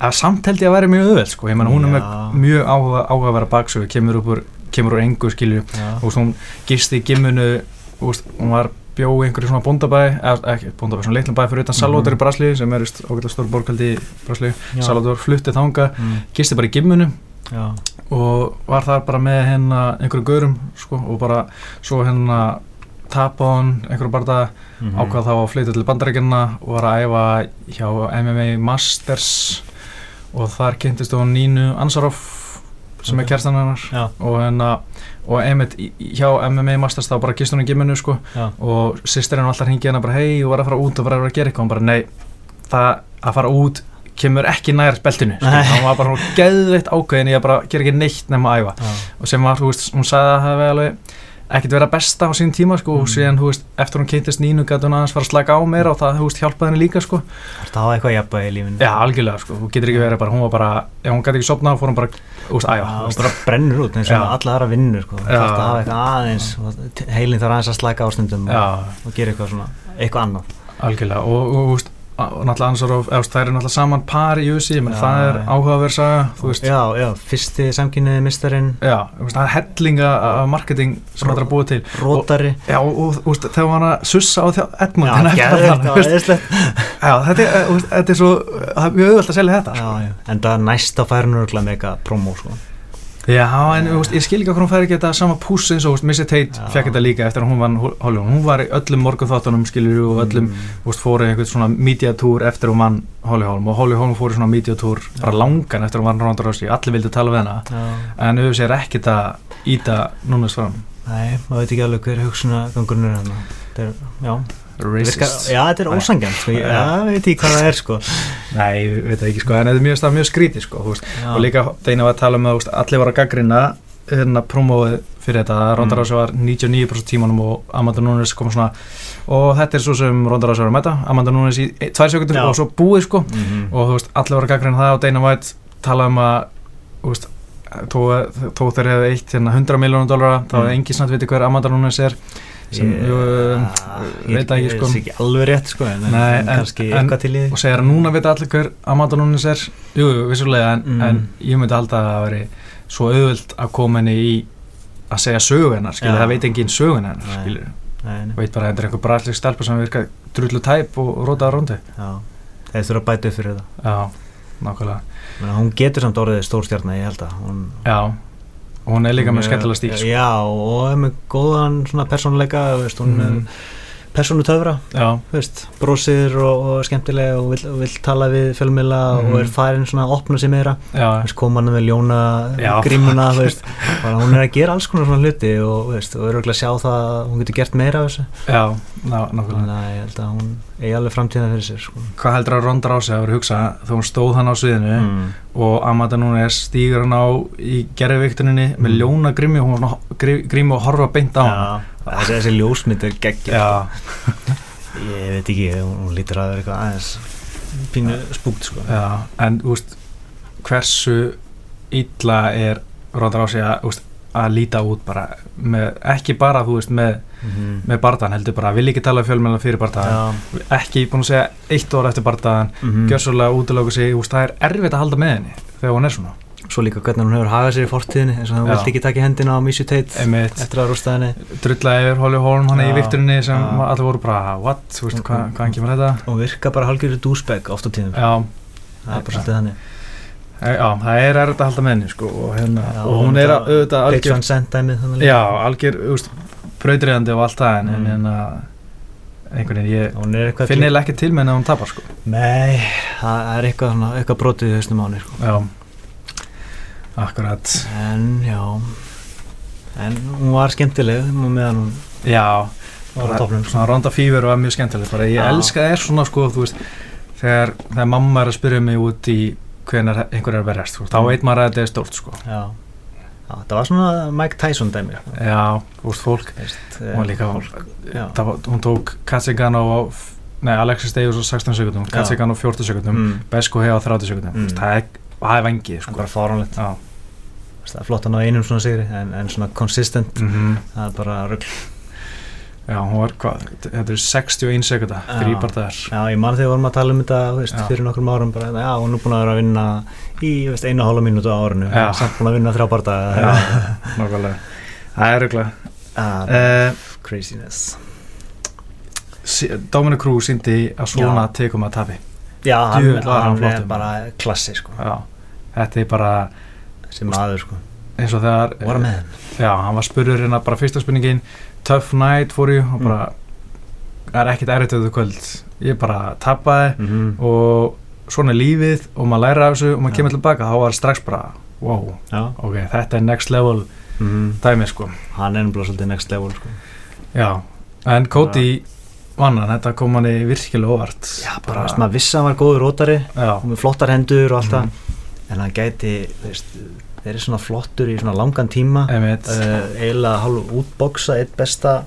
Speaker 1: að samt held ég að væri mjög auðveld sko ég menna hún er með mjög áhuga, áhugaverða baksögu kemur upp úr, kemur úr engu skilju
Speaker 2: mjög
Speaker 1: og hún gist í gimmunu og hún var bjó í einhverju svona bóndabæ eða ekki bóndabæ, svona litlum bæ fyrir utan Salvador
Speaker 2: Mhm.
Speaker 1: í Braslíu sem er veist, ágætlega stór borgaldi í Braslíu Salvador flutti þanga, gisti bara í gimmunu
Speaker 2: Mm. já,
Speaker 1: og var þar bara með hérna einhverju gaurum sko, og bara svo hérna tapa hann einhverju barða
Speaker 2: mhm.
Speaker 1: ákvað þá að flytja til bandarækjana og var að æfa hjá MMA Masters og þar kynntist hún Nínu Ansaroff sem er
Speaker 2: Ok.
Speaker 1: kerstan hennar
Speaker 2: já,
Speaker 1: og, hérna, og einmitt í- í- hjá MMA Masters þá bara gist hún í gimminu sko
Speaker 2: já,
Speaker 1: og sýstirinn var alltaf hringið hennar bara hei og var að fara út og var að vera að gera eitthvað og bara nei, það að fara út kemur ekki nær beltinu
Speaker 2: [LAUGHS]
Speaker 1: sko.
Speaker 2: Nei.
Speaker 1: hann var bara svona geðveitt ákveðin í að bara gera ekki neitt nema að æfa
Speaker 2: já,
Speaker 1: og sem var, þú veist, hún sagði að það hefði alveg ekkert verið að besta á sín tíma sko og
Speaker 2: Mm.
Speaker 1: síðan, þú veist, eftir hún kynntist nínu gæti hún aðeins fara að slaka á meira og það, þú veist, hjálpaði henni líka sko
Speaker 2: þetta hafa eitthvað jafnvægi í lífinu
Speaker 1: Já, algjörlega sko, hún getur ekki verið bara, hún var bara ef hún gæti ekki sopnað, fór hún bara, þú veist, æfa
Speaker 2: Já,
Speaker 1: þú
Speaker 2: og
Speaker 1: veist.
Speaker 2: bara brennur út eins og
Speaker 1: Já.
Speaker 2: alla aðra vinnur sko.
Speaker 1: Já.
Speaker 2: þetta hafa eitthvað aðeins og heilin þarf aðeins að slæka ástundum og,
Speaker 1: Já,
Speaker 2: og gera eitthvað svona, eitthvað annað
Speaker 1: Algjörlega og, og, og, og náttúrulega Ansaroff, eða, þú veist, þær eru náttúrulega saman par í USA, menn
Speaker 2: Já,
Speaker 1: það er
Speaker 2: já.
Speaker 1: áhugaverð saga, þú veist, já,
Speaker 2: já, já, fyrsti samkynniði mistarinn
Speaker 1: þú veist, það er hellinga af marketing sem þetta er búið til
Speaker 2: rótari
Speaker 1: [LAUGHS] Já, og, og þú veist, þegar hann að sussa á þjá Edmund,
Speaker 2: já,
Speaker 1: þannig að um
Speaker 2: geðveikt,
Speaker 1: það,
Speaker 2: það
Speaker 1: þú
Speaker 2: var
Speaker 1: veist,
Speaker 2: eðislegt
Speaker 1: [LAUGHS] já, þetta er, þú veist, þetta er svo, það er mjög auðvöld að selja þetta
Speaker 2: já, já, en það næsta færinu er með eitthvað promo sko.
Speaker 1: Já, en þú veist, ég skil ekki að hún fær ekki þetta sama púss eins og, þú veist, Missy Tate
Speaker 2: Já.
Speaker 1: fekk þetta líka eftir að hún vann Hollywood, hún var í öllum morgunþáttunum, skilur og öllum
Speaker 2: mm,
Speaker 1: þú veist, fóru í einhvern svona mediatúr eftir hún vann Holly Holm og Holly Holm fór í svona mediatúr bara langan eftir hún vann Ronda Rousey allir vildi tala við hana
Speaker 2: já,
Speaker 1: en auðvitað sér ekkit að íta núnaðs fram
Speaker 2: nei, maður veit ekki alveg hver hugsunagangurinn er hann er, já, virka,
Speaker 1: racist
Speaker 2: já, þetta er
Speaker 1: Nei.
Speaker 2: ósangjant sko. ég-
Speaker 1: Já.
Speaker 2: já, ég veit ekki hvað það er sko.
Speaker 1: nei, ég veit það ekki sko en þetta er mjög, það er mjög skrítið sko þú veist.
Speaker 2: Já.
Speaker 1: og líka Deina var að tala um að þú veist, allir var að gaggrina hérna promóið fyrir þetta að Ronda
Speaker 2: Mm.
Speaker 1: Rousey var 99% tímanum og Amanda Nunes kom svona og þetta er svo sem Ronda Rousey var að mæta Amanda Nunes í e, tvær sekundur
Speaker 2: Já.
Speaker 1: og svo búið sko
Speaker 2: Mhm.
Speaker 1: og þú veist, allir voru að gaggrina það og Dana White talaði um að þú veist, þó, þó þeir hefði eitt hérna 100 miljónum dólara, þá
Speaker 2: Mm.
Speaker 1: hefði engin snart viti hver Amanda Nunes er sem,
Speaker 2: Ég- Ah,
Speaker 1: jú, um,
Speaker 2: ég
Speaker 1: veit það ekki, sko.
Speaker 2: ég sé ekki alveg rétt sko en,
Speaker 1: Nei,
Speaker 2: en,
Speaker 1: en-
Speaker 2: kannski
Speaker 1: en-
Speaker 2: eitthvað til í
Speaker 1: og segir að núna vita allir hver Amanda Nunes er jú, jú, vissulega, en,
Speaker 2: Mm.
Speaker 1: en ég myndi halda að það veri svo auðvöld að koma henni í að segja sögu hennar, skilur,
Speaker 2: Já.
Speaker 1: það veit engin sögu hennar,
Speaker 2: Nei.
Speaker 1: skilur,
Speaker 2: Nei, nei,
Speaker 1: veit bara að þetta er einhver bræðsleg stelpa sem virkar drullu tæp og rótaða róndi
Speaker 2: já, þeir þurfa að bæta upp fyrir það
Speaker 1: já, nákvæmlega
Speaker 2: Menna, hún getur samt orðið stórstjarnar ég held að hún,
Speaker 1: já, og hún er líka
Speaker 2: hún
Speaker 1: með skemmtilega stíl sko.
Speaker 2: já og er með góðan svona persónuleika þú veist, hún mm.
Speaker 1: Mhm.
Speaker 2: er persónu töfra
Speaker 1: já,
Speaker 2: veist, brosir og, og skemmtilega og vill, og vill tala við fjölmila
Speaker 1: Mhm.
Speaker 2: og er farin svona að opna sig meira
Speaker 1: já,
Speaker 2: Þú veist, kom hann með ljóna
Speaker 1: Já.
Speaker 2: grímuna þú
Speaker 1: [LAUGHS]
Speaker 2: veist, bara hún er að gera alls konar svona hluti og, þú veist, og er auðvitað að sjá það að hún getur gert meira af þessu
Speaker 1: já, ná, nákvæmlega
Speaker 2: Þannig að ég held að hún eigi alveg framtíðan fyrir sér sko.
Speaker 1: hvað heldur að Ronda Rousey að vera hugsa þegar hún stóð hann á sviðinu
Speaker 2: mm.
Speaker 1: og Amanda Nunes stýgur hann á í gerðviktuninni með
Speaker 2: Mm.
Speaker 1: ljóna grími og hún var svona grí- grími og horfa beint á hann
Speaker 2: þessi, þessi ljósmynd er geggjur
Speaker 1: Já,
Speaker 2: Ég veit ekki, hún, hún lítur að vera eitthvað aðeins pínu spúkt sko.
Speaker 1: já, en þú veist hversu illa er Ronda Rousey að, þú veist, að líta út bara með, ekki bara þú veist með,
Speaker 2: Mhm.
Speaker 1: með bardaðan heldur bara, vil ekki tala fjölmjölan fyrir bardaðan,
Speaker 2: Já.
Speaker 1: ekki búin að segja eitt orð eftir bardaðan,
Speaker 2: Mhm.
Speaker 1: gjörsólega útlöku sig, þú veist, það er erfitt að halda með henni þegar hún er svona,
Speaker 2: Svo líka hvernig hún hefur hagað sér í fortíðinni eins og hún
Speaker 1: Já.
Speaker 2: vildi ekki taka í hendina á Mishu Tate
Speaker 1: einmitt
Speaker 2: eftir að rústa henni
Speaker 1: drulla yfir Holly Holm hann í
Speaker 2: Já,
Speaker 1: vikturinni sem
Speaker 2: já. Mm.
Speaker 1: allir voru bara, what, þú veist, hvað, hvaðan kemur þetta
Speaker 2: og virka bara halgjörðu dúsbæk oft á tíðum
Speaker 1: já,
Speaker 2: það er bara svolítið þannig
Speaker 1: e- já, það er erfitt að halda með henni sko, og, hérna,
Speaker 2: Já,
Speaker 1: og hún er að- auðvitað
Speaker 2: Page
Speaker 1: algjör
Speaker 2: Van Sant dæmið þannig
Speaker 1: Já, algjör, þú veist, brautriðandi og allt það en,
Speaker 2: Mm.
Speaker 1: en, en, einhvern veginn, ég
Speaker 2: hún er eitthvað
Speaker 1: finn eiginlega ekki til með henni að hún tapar sko
Speaker 2: nei, það er eitthvað, svona, eitthvað brotið í hausnum á henni sko.
Speaker 1: Já, akkurat
Speaker 2: en já en hún var skemmtileg hún meðan hún
Speaker 1: Já,
Speaker 2: var á
Speaker 1: Bara-
Speaker 2: topnum sko.
Speaker 1: svona Ronda Fever var mjög skemmtileg bara ég
Speaker 2: Já.
Speaker 1: elska það er svona sko þú veist þegar, þegar mamma er að spyrja mig út í hvenar einhver er að verðast sko, þá
Speaker 2: Mm.
Speaker 1: veit maður að þetta er stórt sko
Speaker 2: já. já, það var svona Mike Tyson dæmi sko.
Speaker 1: já, þú veist fólk
Speaker 2: Veist,
Speaker 1: hún var
Speaker 2: eh,
Speaker 1: líka
Speaker 2: já.
Speaker 1: það, var- hún tók Katzigano á f- nei, Alexis Davis á 16 sekundum
Speaker 2: Já.
Speaker 1: Katzigano á 14 sekundum,
Speaker 2: Mm.
Speaker 1: Besko hei á 30 sekundum
Speaker 2: Mm.
Speaker 1: mm. það er, það er vangið
Speaker 2: það er
Speaker 1: sko
Speaker 2: bara fáranlegt
Speaker 1: já,
Speaker 2: það er flott að ná einum svona sigri en, en svona consistent
Speaker 1: mm
Speaker 2: það er bara rugg
Speaker 1: já, hún var hvað þetta er 61 sekunda,
Speaker 2: Já.
Speaker 1: þrýbardaðar
Speaker 2: já ég man þegar við vorum að tala um þetta þú veist,
Speaker 1: Já.
Speaker 2: fyrir nokkrum árum bara já hún er búin að vera að vinna í þú veist, einu og hálfa mínútu á árinu
Speaker 1: Já.
Speaker 2: samt búin að vinna þrjá barða [LAUGHS]
Speaker 1: nákvæmlega það er röglega Eh.
Speaker 2: uh, craziness
Speaker 1: Dominic Cruz síndi að svona tekum að tafi
Speaker 2: já hann,
Speaker 1: Djöfull var hann
Speaker 2: hann er
Speaker 1: flottur.
Speaker 2: bara klassi sko
Speaker 1: Já, þetta er bara
Speaker 2: sem aður sko
Speaker 1: eins og þegar
Speaker 2: var með henn
Speaker 1: Já, hann var spurður hérna bara fyrsta spurningin Tough night for you og bara það er ekkert erfitt auðvitað kvöld ég bara tapaði
Speaker 2: mm -hmm.
Speaker 1: og svona er lífið og maður læra af þessu og maður
Speaker 2: Já.
Speaker 1: kemur tilbaka þá var strax bara wow,
Speaker 2: já
Speaker 1: ok, þetta er next level
Speaker 2: mm
Speaker 1: dæmi sko
Speaker 2: hann er bara svolítið next level sko
Speaker 1: Já, en Cody vann hann, þetta kom hann virkilega óvart
Speaker 2: já bara veist, maður vissi að hann var góður rótari
Speaker 1: Já,
Speaker 2: og með flottar hendur og allt það en hann gæti þú veist, þeir eru svona flottur í svona langan tíma
Speaker 1: emitt
Speaker 2: uh, eiginlega hálf útboksa eitt besta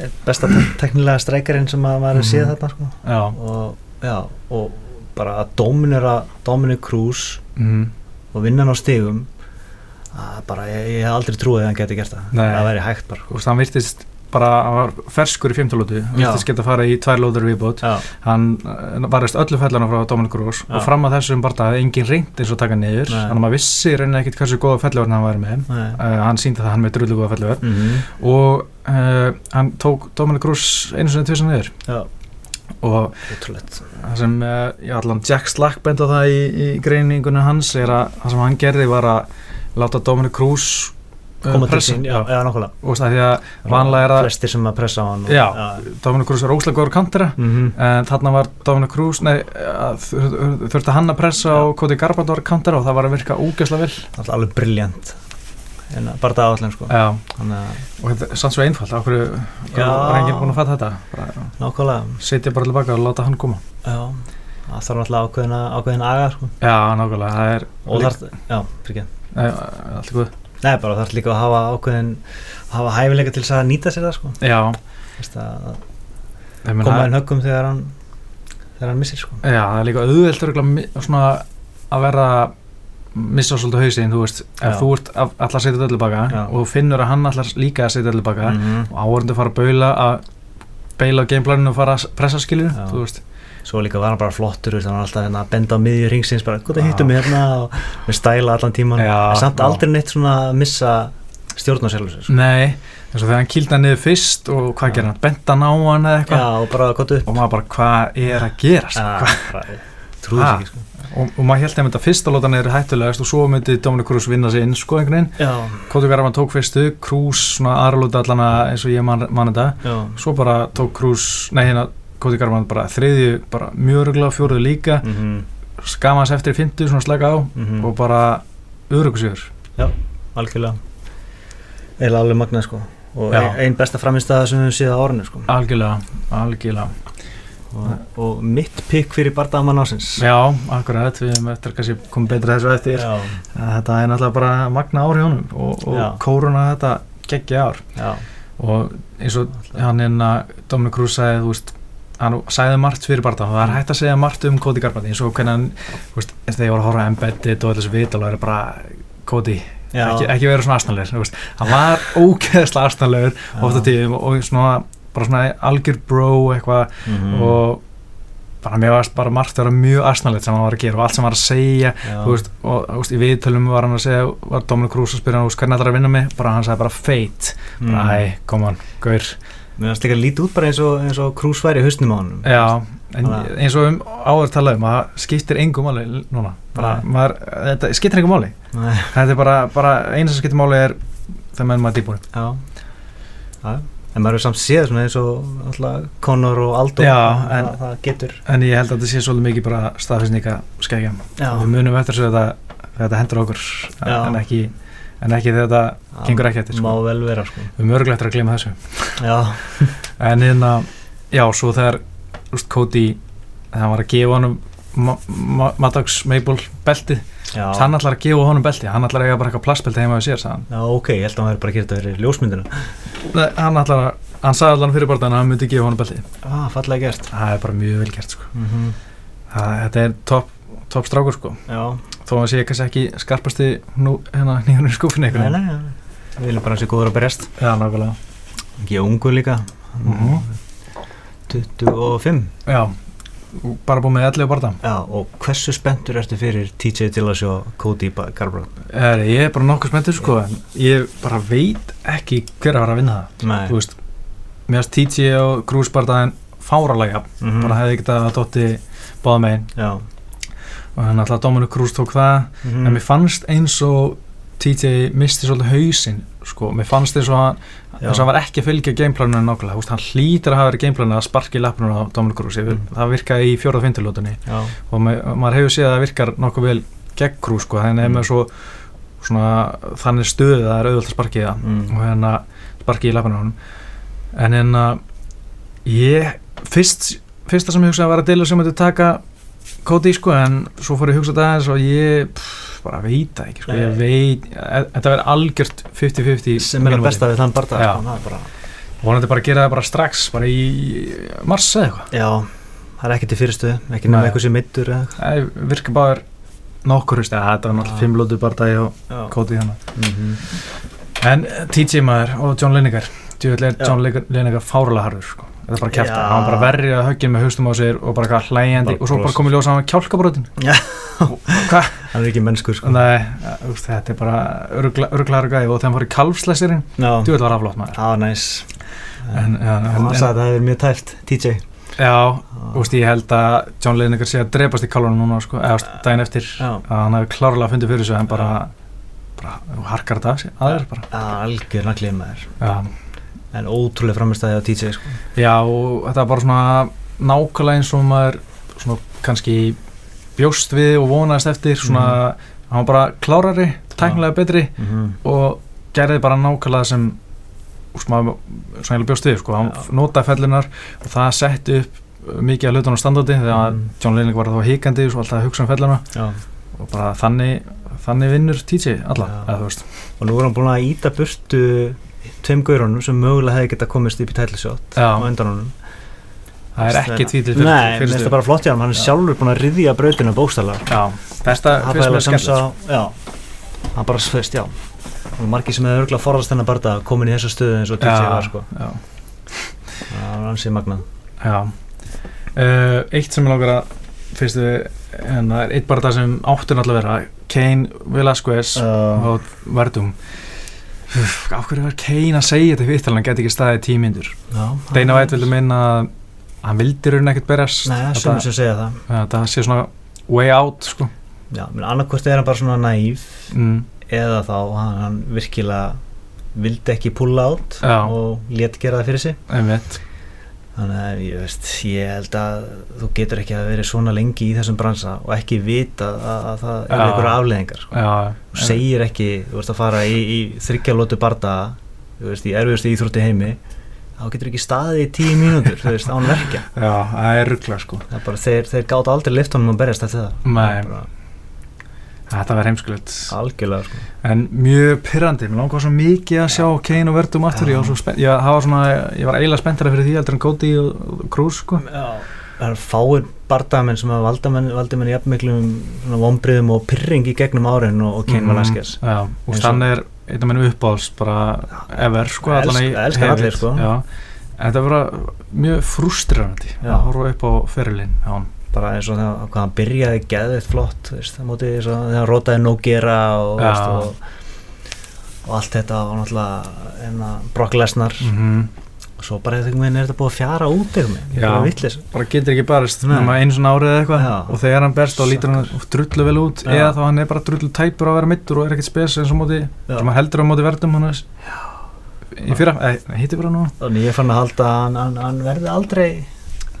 Speaker 2: eitt besta te- teknilega streikarinn sem að maður mm. séð
Speaker 1: Mhm.
Speaker 2: þarna sko.
Speaker 1: Já,
Speaker 2: og, já, og bara að dominera Dominic Cruz
Speaker 1: mhm
Speaker 2: og vinna hann á stigum að bara, ég, ég hef aldrei trúið að hann geti gert það
Speaker 1: Nei.
Speaker 2: það væri hægt bara
Speaker 1: Þú veist, hann virtist bara, hann var ferskur í fjöndalótu, hann
Speaker 2: Já.
Speaker 1: virtist geta að fara í tvær lótur viðbót,
Speaker 2: já,
Speaker 1: hann eh, varist öllu fellana frá Dominic Gross
Speaker 2: Já.
Speaker 1: og fram að þessum bara hafði enginn reynd eins og taka niður,
Speaker 2: Nei.
Speaker 1: þannig að maður vissi reyna ekkit hversu góða fellurinn hann var með,
Speaker 2: nei
Speaker 1: uh, hann síndi það hann með drullu góða fellur
Speaker 2: Mm
Speaker 1: og uh, hann tók Dominic Gross einu sinni tvisan niður
Speaker 2: Já,
Speaker 1: og
Speaker 2: ótrúlegt
Speaker 1: það sem, uh, já allan Jack Slack benda það í, í greiningunum hans er að það sem hann gerði var að láta Dominic Gross eh,
Speaker 2: Koma til
Speaker 1: pressa.
Speaker 2: sín, já, já, nákvæmlega
Speaker 1: og það því að Vanlega er að-
Speaker 2: Flestir sem að pressa á hann og-
Speaker 1: Já.
Speaker 2: já.
Speaker 1: Dominic Gross er óslega góður kantera
Speaker 2: Mhm.
Speaker 1: en þarna var Dominic Cruz nei, að þur- þurfti hann að pressa
Speaker 2: Já.
Speaker 1: og Cody Garbrandt var kantar og það var að virka ógeðslega vel
Speaker 2: Alltaf alveg briljant En bara það áallum sko
Speaker 1: já.
Speaker 2: Þannig að
Speaker 1: og þetta er sann svo einfalt af hverju
Speaker 2: Já.
Speaker 1: var enginn búinn að fatta þetta bara,
Speaker 2: Nákvæmlega
Speaker 1: setja bara tilbaka og láta hann koma
Speaker 2: Já, það þarf náttúrulega ákveðin, ákveðin aga sko.
Speaker 1: já, nákvæmlega, það er
Speaker 2: og
Speaker 1: Lík-
Speaker 2: þarf, já, fyrir ekki
Speaker 1: nei, allt í góð
Speaker 2: Nei, bara þarf líka að hafa ákveðin hafa hæfileika til þess að nýta sér það sko.
Speaker 1: já,
Speaker 2: Vist að
Speaker 1: ég meina,
Speaker 2: koma
Speaker 1: það-
Speaker 2: hann höggum þegar hann þegar hann missir sko.
Speaker 1: já, það er líka auðvelt örugglega mi- svona að vera missa svolítið hausinn, þú veist ef
Speaker 2: Já.
Speaker 1: þú ert að- ætlar að setja þetta tilbaka
Speaker 2: Já.
Speaker 1: og þú finnur að hann ætlar líka að setja þetta tilbaka
Speaker 2: -hmm.
Speaker 1: og áhverjandi fara að baula að beila á gameplaninu og fara að pressa skilur
Speaker 2: Já.
Speaker 1: þú veist,
Speaker 2: Svo líka var hann bara flottur þannig var alltaf hérna, að benda á miðju ringsins bara, hvað það
Speaker 1: Já.
Speaker 2: hittum við hérna og við stæla allan tíman
Speaker 1: Já,
Speaker 2: en samt
Speaker 1: já.
Speaker 2: aldrei neitt svona að missa stjórn á sjálfur sér sko.
Speaker 1: nei eins og þegar hann kýldi hann niður fyrst og hvað
Speaker 2: Já.
Speaker 1: gerir hann, bent hann á hann eða
Speaker 2: Já,
Speaker 1: eitthvað
Speaker 2: og bara gott upp
Speaker 1: og maður bara, hvað er að gerast
Speaker 2: Trúður
Speaker 1: Ha.
Speaker 2: ekki sko.
Speaker 1: og, og maður held að þetta fyrst að láta niður hættulegast og svo myndi Dominic Cruz vinna sér inn sko einhvern veginn,
Speaker 2: Já,
Speaker 1: Kóti Garfan tók fyrstu Cruz svona aðralúta allana eins og ég man, man þetta,
Speaker 2: já,
Speaker 1: svo bara tók Cruz, nei hérna Kóti Garfan bara þriðju, bara mjög öruglega, fjóruðu líka
Speaker 2: mm -hmm.
Speaker 1: skama hans eftir fintu, svona slaka á
Speaker 2: Mm.
Speaker 1: og bara örugusigur
Speaker 2: algjörlega eða alveg magnað sko og
Speaker 1: Já.
Speaker 2: ein, ein besta framistæða sem við höfum séð á árinu sko
Speaker 1: algjörlega, algjörlega
Speaker 2: og, og mitt pikk fyrir bardamann ásins
Speaker 1: Já, akkurat, við hefum eftir að kannski komið betra þessu eftir
Speaker 2: já,
Speaker 1: Þetta er náttúrulega bara magna ár hjá honum og,
Speaker 2: Já.
Speaker 1: og kóruna þetta geggja ár
Speaker 2: já,
Speaker 1: og eins og hann inn að Dominic Cruz sagði, þú veist hann sagði margt fyrir barða, það er hægt að segja margt um Cody Garbrandt eins og hvernig hann, þú veist eins og þegar ég var að horfa á embeddit og allir þessu vital og er bara Cody,
Speaker 2: já,
Speaker 1: ekki, ekki vera svona astanlegur, þú veist, hann
Speaker 2: [LAUGHS]
Speaker 1: var ógeðslega astanlegur
Speaker 2: já.
Speaker 1: ofta tíðum og, og svona bara svona algjör bro eitthvað
Speaker 2: Mhm.
Speaker 1: og bara mér varst bara margt að vera mjög asnalegt sem hann var að gera og allt sem hann var að segja
Speaker 2: já,
Speaker 1: þú veist, og þú veist, í viðtölum var hann að segja var Dominic Cruz að spyrja hann, þú veist, hvernig ætlar að vinna mig bara hann sagði bara fate,
Speaker 2: mm.
Speaker 1: bara æ, kom on gaur,
Speaker 2: mér finnst líka lítið út bara eins og, eins og krús væri í hausnum á honum
Speaker 1: já en,
Speaker 2: Bara-
Speaker 1: eins og um áður talaði um að það skiptir engum máli núna, bara,
Speaker 2: Nei.
Speaker 1: maður, þetta skiptir engum máli,
Speaker 2: Nei,
Speaker 1: þetta er bara, bara eina sem skiptir máli er þegar menn maður dýbúin
Speaker 2: já, já en maður er samt séð svona eins og alltaf Conor og Aldo
Speaker 1: Já,
Speaker 2: það,
Speaker 1: en-
Speaker 2: það getur
Speaker 1: en ég held að þetta sé svolítið mikið bara staðfæsninga skækja
Speaker 2: Já.
Speaker 1: við munum eftir þessu þetta, þetta hendur okkur
Speaker 2: Já.
Speaker 1: en ekki, en ekki þegar þetta gengur ekki eftir, sko.
Speaker 2: má vel vera sko.
Speaker 1: við erum örgulegt að gleyma þessu
Speaker 2: já,
Speaker 1: en hérna, já, svo þegar úst, Cody, þegar hann var að gefa honum Ma- Ma- Maddox Maple beltið
Speaker 2: já.
Speaker 1: hann ætlar að gefa honum belti, hann ætlar að eiga bara eitthvað plassbelti heima við sér, sagði hann
Speaker 2: já, ok, ég held að maður bara að gera þetta fyrir ljósmyndina
Speaker 1: Nei, hann ætlar að, hann sagði allan fyrir barðan að hann myndi gefa honum belti,
Speaker 2: ah, fallega gert
Speaker 1: það er bara mjög vel gert sko.
Speaker 2: mm
Speaker 1: það, þetta er topp top strákur sko,
Speaker 2: já,
Speaker 1: þó að sé kannski ekki skarpasti nú, hérna, [LAUGHS] nýjunum í skúfinni
Speaker 2: nei,
Speaker 1: einhvern veginn.
Speaker 2: nei, nei. við viljum bara hans í góður að berjast
Speaker 1: Já, nákvæmlega
Speaker 2: ekki ungur líka
Speaker 1: Mhm.
Speaker 2: 25
Speaker 1: Já, og bara búið með 11 barða
Speaker 2: já, og hversu spenntur ertu fyrir TJ Dillas og Cody Garbrandt
Speaker 1: er, Ég er bara nokkuð spenntur sko, en ég bara veit ekki hver að vera að vinna það
Speaker 2: Nei.
Speaker 1: Þú veist, mér finnst TJ og Cruz barðaðin fáralega,
Speaker 2: Mhm.
Speaker 1: bara hefði ekki það að Dotti báða megin
Speaker 2: já
Speaker 1: og hann alltaf Dominic Cruz tók það
Speaker 2: Mhm.
Speaker 1: en mér fannst eins og TJ misti svolítið hausinn sko, mér fannst eins og hann
Speaker 2: Já.
Speaker 1: eins og hann var ekki að fylgja gameplaninu nákvæmlega, Þú veist, hann hlýtur að hafa verið gameplaninu að sparki lappnuna á Dominic Cruz, ég vil,
Speaker 2: Mhm.
Speaker 1: það virkaði í fjóraða fintulótunni
Speaker 2: já,
Speaker 1: og ma maður hefur séð að það virkar nokkuð vel gegn Cruz sko, þannig er
Speaker 2: Mhm.
Speaker 1: með svo svona, þannig stuð að það er auðvöld að sparki í það
Speaker 2: mm.
Speaker 1: og hérna sparki í lappnuna á honum en hérna ég, fyrst, fyrsta sem ég hugsaði var að Dilla sem myndi taka Cody sko, en svo fór ég að hugsa þetta aðeins og ég pff, bara veit það ekki sko, ég
Speaker 2: Nei.
Speaker 1: veit, e- þetta verður algjört 50-50
Speaker 2: sem er að besta við þann barða
Speaker 1: Já.
Speaker 2: sko, það er bara,
Speaker 1: vonandi bara að gera það bara strax, bara í mars eða eitthvað,
Speaker 2: já, það er ekki til fyrirstuðu ekki nema
Speaker 1: Nei.
Speaker 2: eitthvað sem mittur eða eitthvað
Speaker 1: það virkar bara nokkur, veist, eða þetta var náttúrulega
Speaker 2: Já.
Speaker 1: fimm lótu bara dagi og
Speaker 2: já.
Speaker 1: Cody hana
Speaker 2: Mhm.
Speaker 1: hérna. en eh, TJ maður og John Linegar djúvel er
Speaker 2: Já.
Speaker 1: John Linegar- Linegar fárlega harður sko. þetta er bara kæft,
Speaker 2: Já.
Speaker 1: hann var bara verrið að höggja með haustum á sér og bara hvað hlægjandi
Speaker 2: Bara
Speaker 1: og svo
Speaker 2: bros.
Speaker 1: bara komið ljósa hann kjálkabrotin
Speaker 2: Já.
Speaker 1: hvað
Speaker 2: hann er ekki mennskur sko.
Speaker 1: Nei, eh, úst, þetta er bara öruglaður gæði og þegar hann fór í kalfslæsirinn,
Speaker 2: já,
Speaker 1: djúvel var aflótt maður
Speaker 2: já, næs
Speaker 1: en,
Speaker 2: en,
Speaker 1: en, eh, en,
Speaker 2: hann sagði að
Speaker 1: en,
Speaker 2: það hefur mjög tæft TJ
Speaker 1: já, úst, ég held að John Linegar sé að drepast í kalunum núna sko, eða úst, daginn eftir
Speaker 2: já,
Speaker 1: að hann hefur klárlega fundið fyrir þessu en bara, bara þú harkar þetta af sér- að þér bara
Speaker 2: algjör naglið maður
Speaker 1: já.
Speaker 2: en ótrúlega framistæði á TJ sko.
Speaker 1: já, og þetta er bara svona nákvæmlega eins og maður svona kannski bjóst við og vonaðist eftir svona, hann var bara klárari, tæknilega betri
Speaker 2: Mhm.
Speaker 1: og gerði bara nákvæmlega sem úst, maður, svona ég bjóst við sko. hann
Speaker 2: Já.
Speaker 1: notaði fellunar og það setti upp uh, mikið af hlutunum standandi þegar
Speaker 2: Mhm.
Speaker 1: John Lennig var þá híkandi og alltaf að hugsa um felluna
Speaker 2: já
Speaker 1: og bara þannig, þannig vinnur TJ alla,
Speaker 2: Já.
Speaker 1: eða þú veist
Speaker 2: og nú er hann búin að íta burtu tveim gaurunum sem mögulega hefði geta komist upp í tætlisjótt
Speaker 1: Já.
Speaker 2: á endanunum
Speaker 1: það er ekki tvítil
Speaker 2: fyrir Nei, mér finnst það
Speaker 1: stuð.
Speaker 2: bara flott hjá hann, hann er
Speaker 1: Já.
Speaker 2: sjálfur búin að riðja brautina bókstala
Speaker 1: Já, þetta finnst mér skemmt
Speaker 2: Já, hann bara sveist, já og margir sem hefur örgulega forðast hennar barða komin í þessa stöðu eins og TJ
Speaker 1: Já.
Speaker 2: var sko
Speaker 1: Já,
Speaker 2: það var ansið magnað
Speaker 1: já uh, Eitt sem ég langar að finnst við en það er eitt bara það sem áttur náttúrulega að vera Kane, Velasquez
Speaker 2: uh,
Speaker 1: og Verdum Uff, Af hverju var Kane að segja þetta vitt hann geti ekki staðið tímindur
Speaker 2: já,
Speaker 1: Deina Vætt vildi minna að hann vildi raun ekkert berjast
Speaker 2: Nei, það er
Speaker 1: Þetta-
Speaker 2: sömur sem segja það
Speaker 1: að það sé svona way out sko.
Speaker 2: Já, menn annarkvort er hann bara svona næf
Speaker 1: mm,
Speaker 2: eða þá hann, hann virkilega vildi ekki pulla át
Speaker 1: Já.
Speaker 2: og let gera það fyrir sig
Speaker 1: einmitt
Speaker 2: Þannig að ég veist, ég held að þú getur ekki að vera svona lengi í þessum bransa og ekki vita að, að það eru
Speaker 1: Já.
Speaker 2: einhverja afleðingar. Sko.
Speaker 1: já,
Speaker 2: Þú segir ekki, þú veist að fara í, í þryggjalótu barda, þú veist, í erfiðustu íþrótti heimi, þá getur ekki staðið í tíu mínútur, þú veist, án verkja.
Speaker 1: já, það er ruggla sko.
Speaker 2: Það er bara, þeir, þeir gátt aldrei liftunum að berjast eftir það.
Speaker 1: Nei.
Speaker 2: Það er bara
Speaker 1: þetta verður heimskulegt
Speaker 2: Algjörlega, sko.
Speaker 1: en mjög pyrrandi, mér langar svo mikið að sjá Kane og Verdum aftur
Speaker 2: Já.
Speaker 1: ég var, svo spennt, ég, það var svona, ég var eiginlega spenntara fyrir því heldur en Cody og, og Cruz sko.
Speaker 2: Það er fáir bardamenn sem að valdamenn, valdamenn í jafnmiklum vombriðum og pyrring í gegnum árin og, og
Speaker 1: Mhm.
Speaker 2: Kane mm. Velasquez.
Speaker 1: já, og
Speaker 2: Eins og-
Speaker 1: þann er einn af minn uppáðs bara ever sko,
Speaker 2: Elsk-
Speaker 1: allan í-
Speaker 2: elskar
Speaker 1: hefur-
Speaker 2: allir, sko.
Speaker 1: já. en þetta var bara mjög frustrerandi
Speaker 2: Já.
Speaker 1: að horfa upp á ferilinn á hann
Speaker 2: bara eins og þegar hvað hann byrjaði geðveitt flott þú veist, það móti eins og þegar hann rótaði nóg gera og,
Speaker 1: Já.
Speaker 2: veist, og, og allt þetta og náttúrulega hérna, Brock Lesnar
Speaker 1: mm
Speaker 2: og svo bara þegar minn er þetta búið að fjara út eða minn,
Speaker 1: Já.
Speaker 2: það er vitlis
Speaker 1: bara getur ekki barist
Speaker 2: Nei.
Speaker 1: nema einu svona árið eða eitthvað
Speaker 2: Já.
Speaker 1: og þegar hann berst þá lítur hann drullu vel út
Speaker 2: Já.
Speaker 1: eða þá hann er bara drullu tæpur á að vera mittur og er ekkert spes eins og móti
Speaker 2: Já.
Speaker 1: sem hann heldur á móti verðum hann í fyrra, eða hitti bara nú
Speaker 2: Þannig ég fann að halda að hann, hann, hann verði aldrei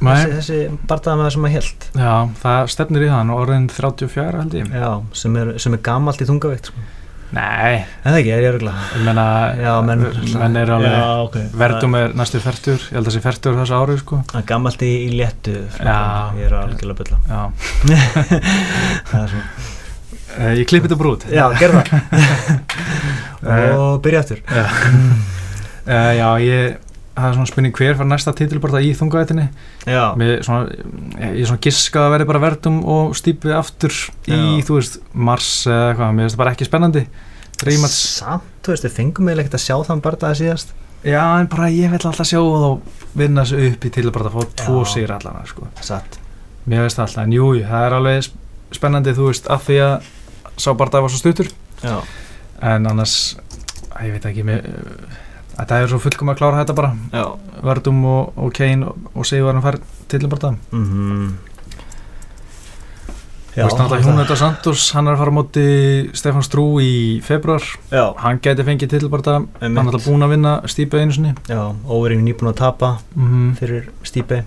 Speaker 2: þessi,
Speaker 1: Nei,
Speaker 2: þessi bardaðamaður sem að held
Speaker 1: já, það stefnir í það hann orðin 34 held ég
Speaker 2: Já, sem er, sem er gamalt í tungaveikt sko.
Speaker 1: Nei,
Speaker 2: En það ekki, er ég örgulega
Speaker 1: ég menna
Speaker 2: Já, menn-
Speaker 1: menn er alveg
Speaker 2: okay.
Speaker 1: Verdum er næstu færtur, ég held að sé færtur þessu ári sko
Speaker 2: Það er gamalt í, í léttu flokkum.
Speaker 1: Já.
Speaker 2: Ég er algjörlega að bylla
Speaker 1: Já,
Speaker 2: Það er svona
Speaker 1: Eh, ég klippi þetta brút
Speaker 2: Já, gerð það
Speaker 1: Eh,
Speaker 2: [LAUGHS] Og byrja aftur
Speaker 1: Já, [LAUGHS] Eh, já ég það er svona spurning hver fara næsta titil bara í þungaðetinni
Speaker 2: Já,
Speaker 1: Mér svona, ég ég svona giska að verði bara verðum og stýpi aftur í,
Speaker 2: Já.
Speaker 1: þú veist, mars eða eitthvað, mér finnst það bara ekki spennandi Rímats,
Speaker 2: samt, þú veist, við fengum eiginlega ekkert að sjá þann bardaða síðast
Speaker 1: já, en bara ég vil alltaf sjá þá vinna sig upp í til að bara fá tvo
Speaker 2: Já.
Speaker 1: sigur allan, sko
Speaker 2: Satt
Speaker 1: Mér finnst það alltaf, en jú, jú, það er alveg sp- spennandi, þú veist, af því að sá bara var svo stuttur,
Speaker 2: Já,
Speaker 1: en annars, að ég veit ekki, mér, eh, þetta er svo fullkom að klára þetta bara
Speaker 2: já
Speaker 1: Verdum og, og Kane og, og Sigurðan fær til að bara það
Speaker 2: mm
Speaker 1: Þú veist náttúrulega Jónata Santos, hann er að fara á móti Stefán Strú í februar
Speaker 2: Já,
Speaker 1: hann gæti fengið titilbarta hann er
Speaker 2: einmitt.
Speaker 1: alltaf búinn að vinna stípa einu sinni
Speaker 2: Já, óverinn nýbúin að tapa
Speaker 1: mm
Speaker 2: fyrir stípi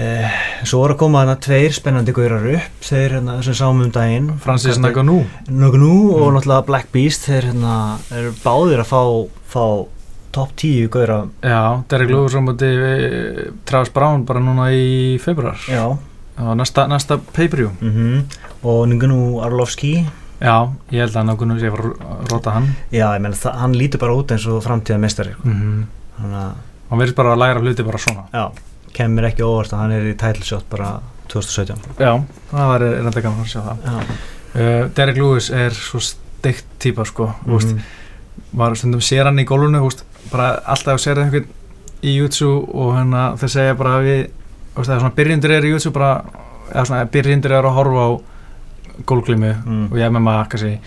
Speaker 2: eh, Svo voru að koma þarna tveir spennandi gaurar upp þeir hérna sem sáum um daginn
Speaker 1: Francis
Speaker 2: Kallið-
Speaker 1: Naganú
Speaker 2: Naganu og
Speaker 1: Mm.
Speaker 2: náttúrulega Black Beast þeir hérna eru báðir að fá, fá topp 10 gaura
Speaker 1: já, Derek Lewis á móti eh, Travis Brown bara núna í februar
Speaker 2: Já
Speaker 1: það var næsta, næsta pay-per-view
Speaker 2: mm og Naganu Arlovski
Speaker 1: já, ég held að Naganú sé að fara að rota hann
Speaker 2: Já, ég menn hann lítur bara út eins og framtíða mestari
Speaker 1: mm
Speaker 2: þannig að
Speaker 1: hann verður bara að læra hluti bara svona
Speaker 2: Já, kemur ekki óvart að hann er í title shot bara 2017
Speaker 1: já, það var reynda gaman að sjá það
Speaker 2: Já,
Speaker 1: uh, Derek Lewis er svo steikt típa sko, mm
Speaker 2: mm
Speaker 1: veist, maður stundum sér hann í gólfinu þú veist, bara alltaf sér einhvern í jútsu og hérna þeir segja bara að við þú veist, eða svona byrjendur eru í jútsu bara, eða svona byrjendur eru að horfa á gólglimu
Speaker 2: Mm.
Speaker 1: og ég með maður kannski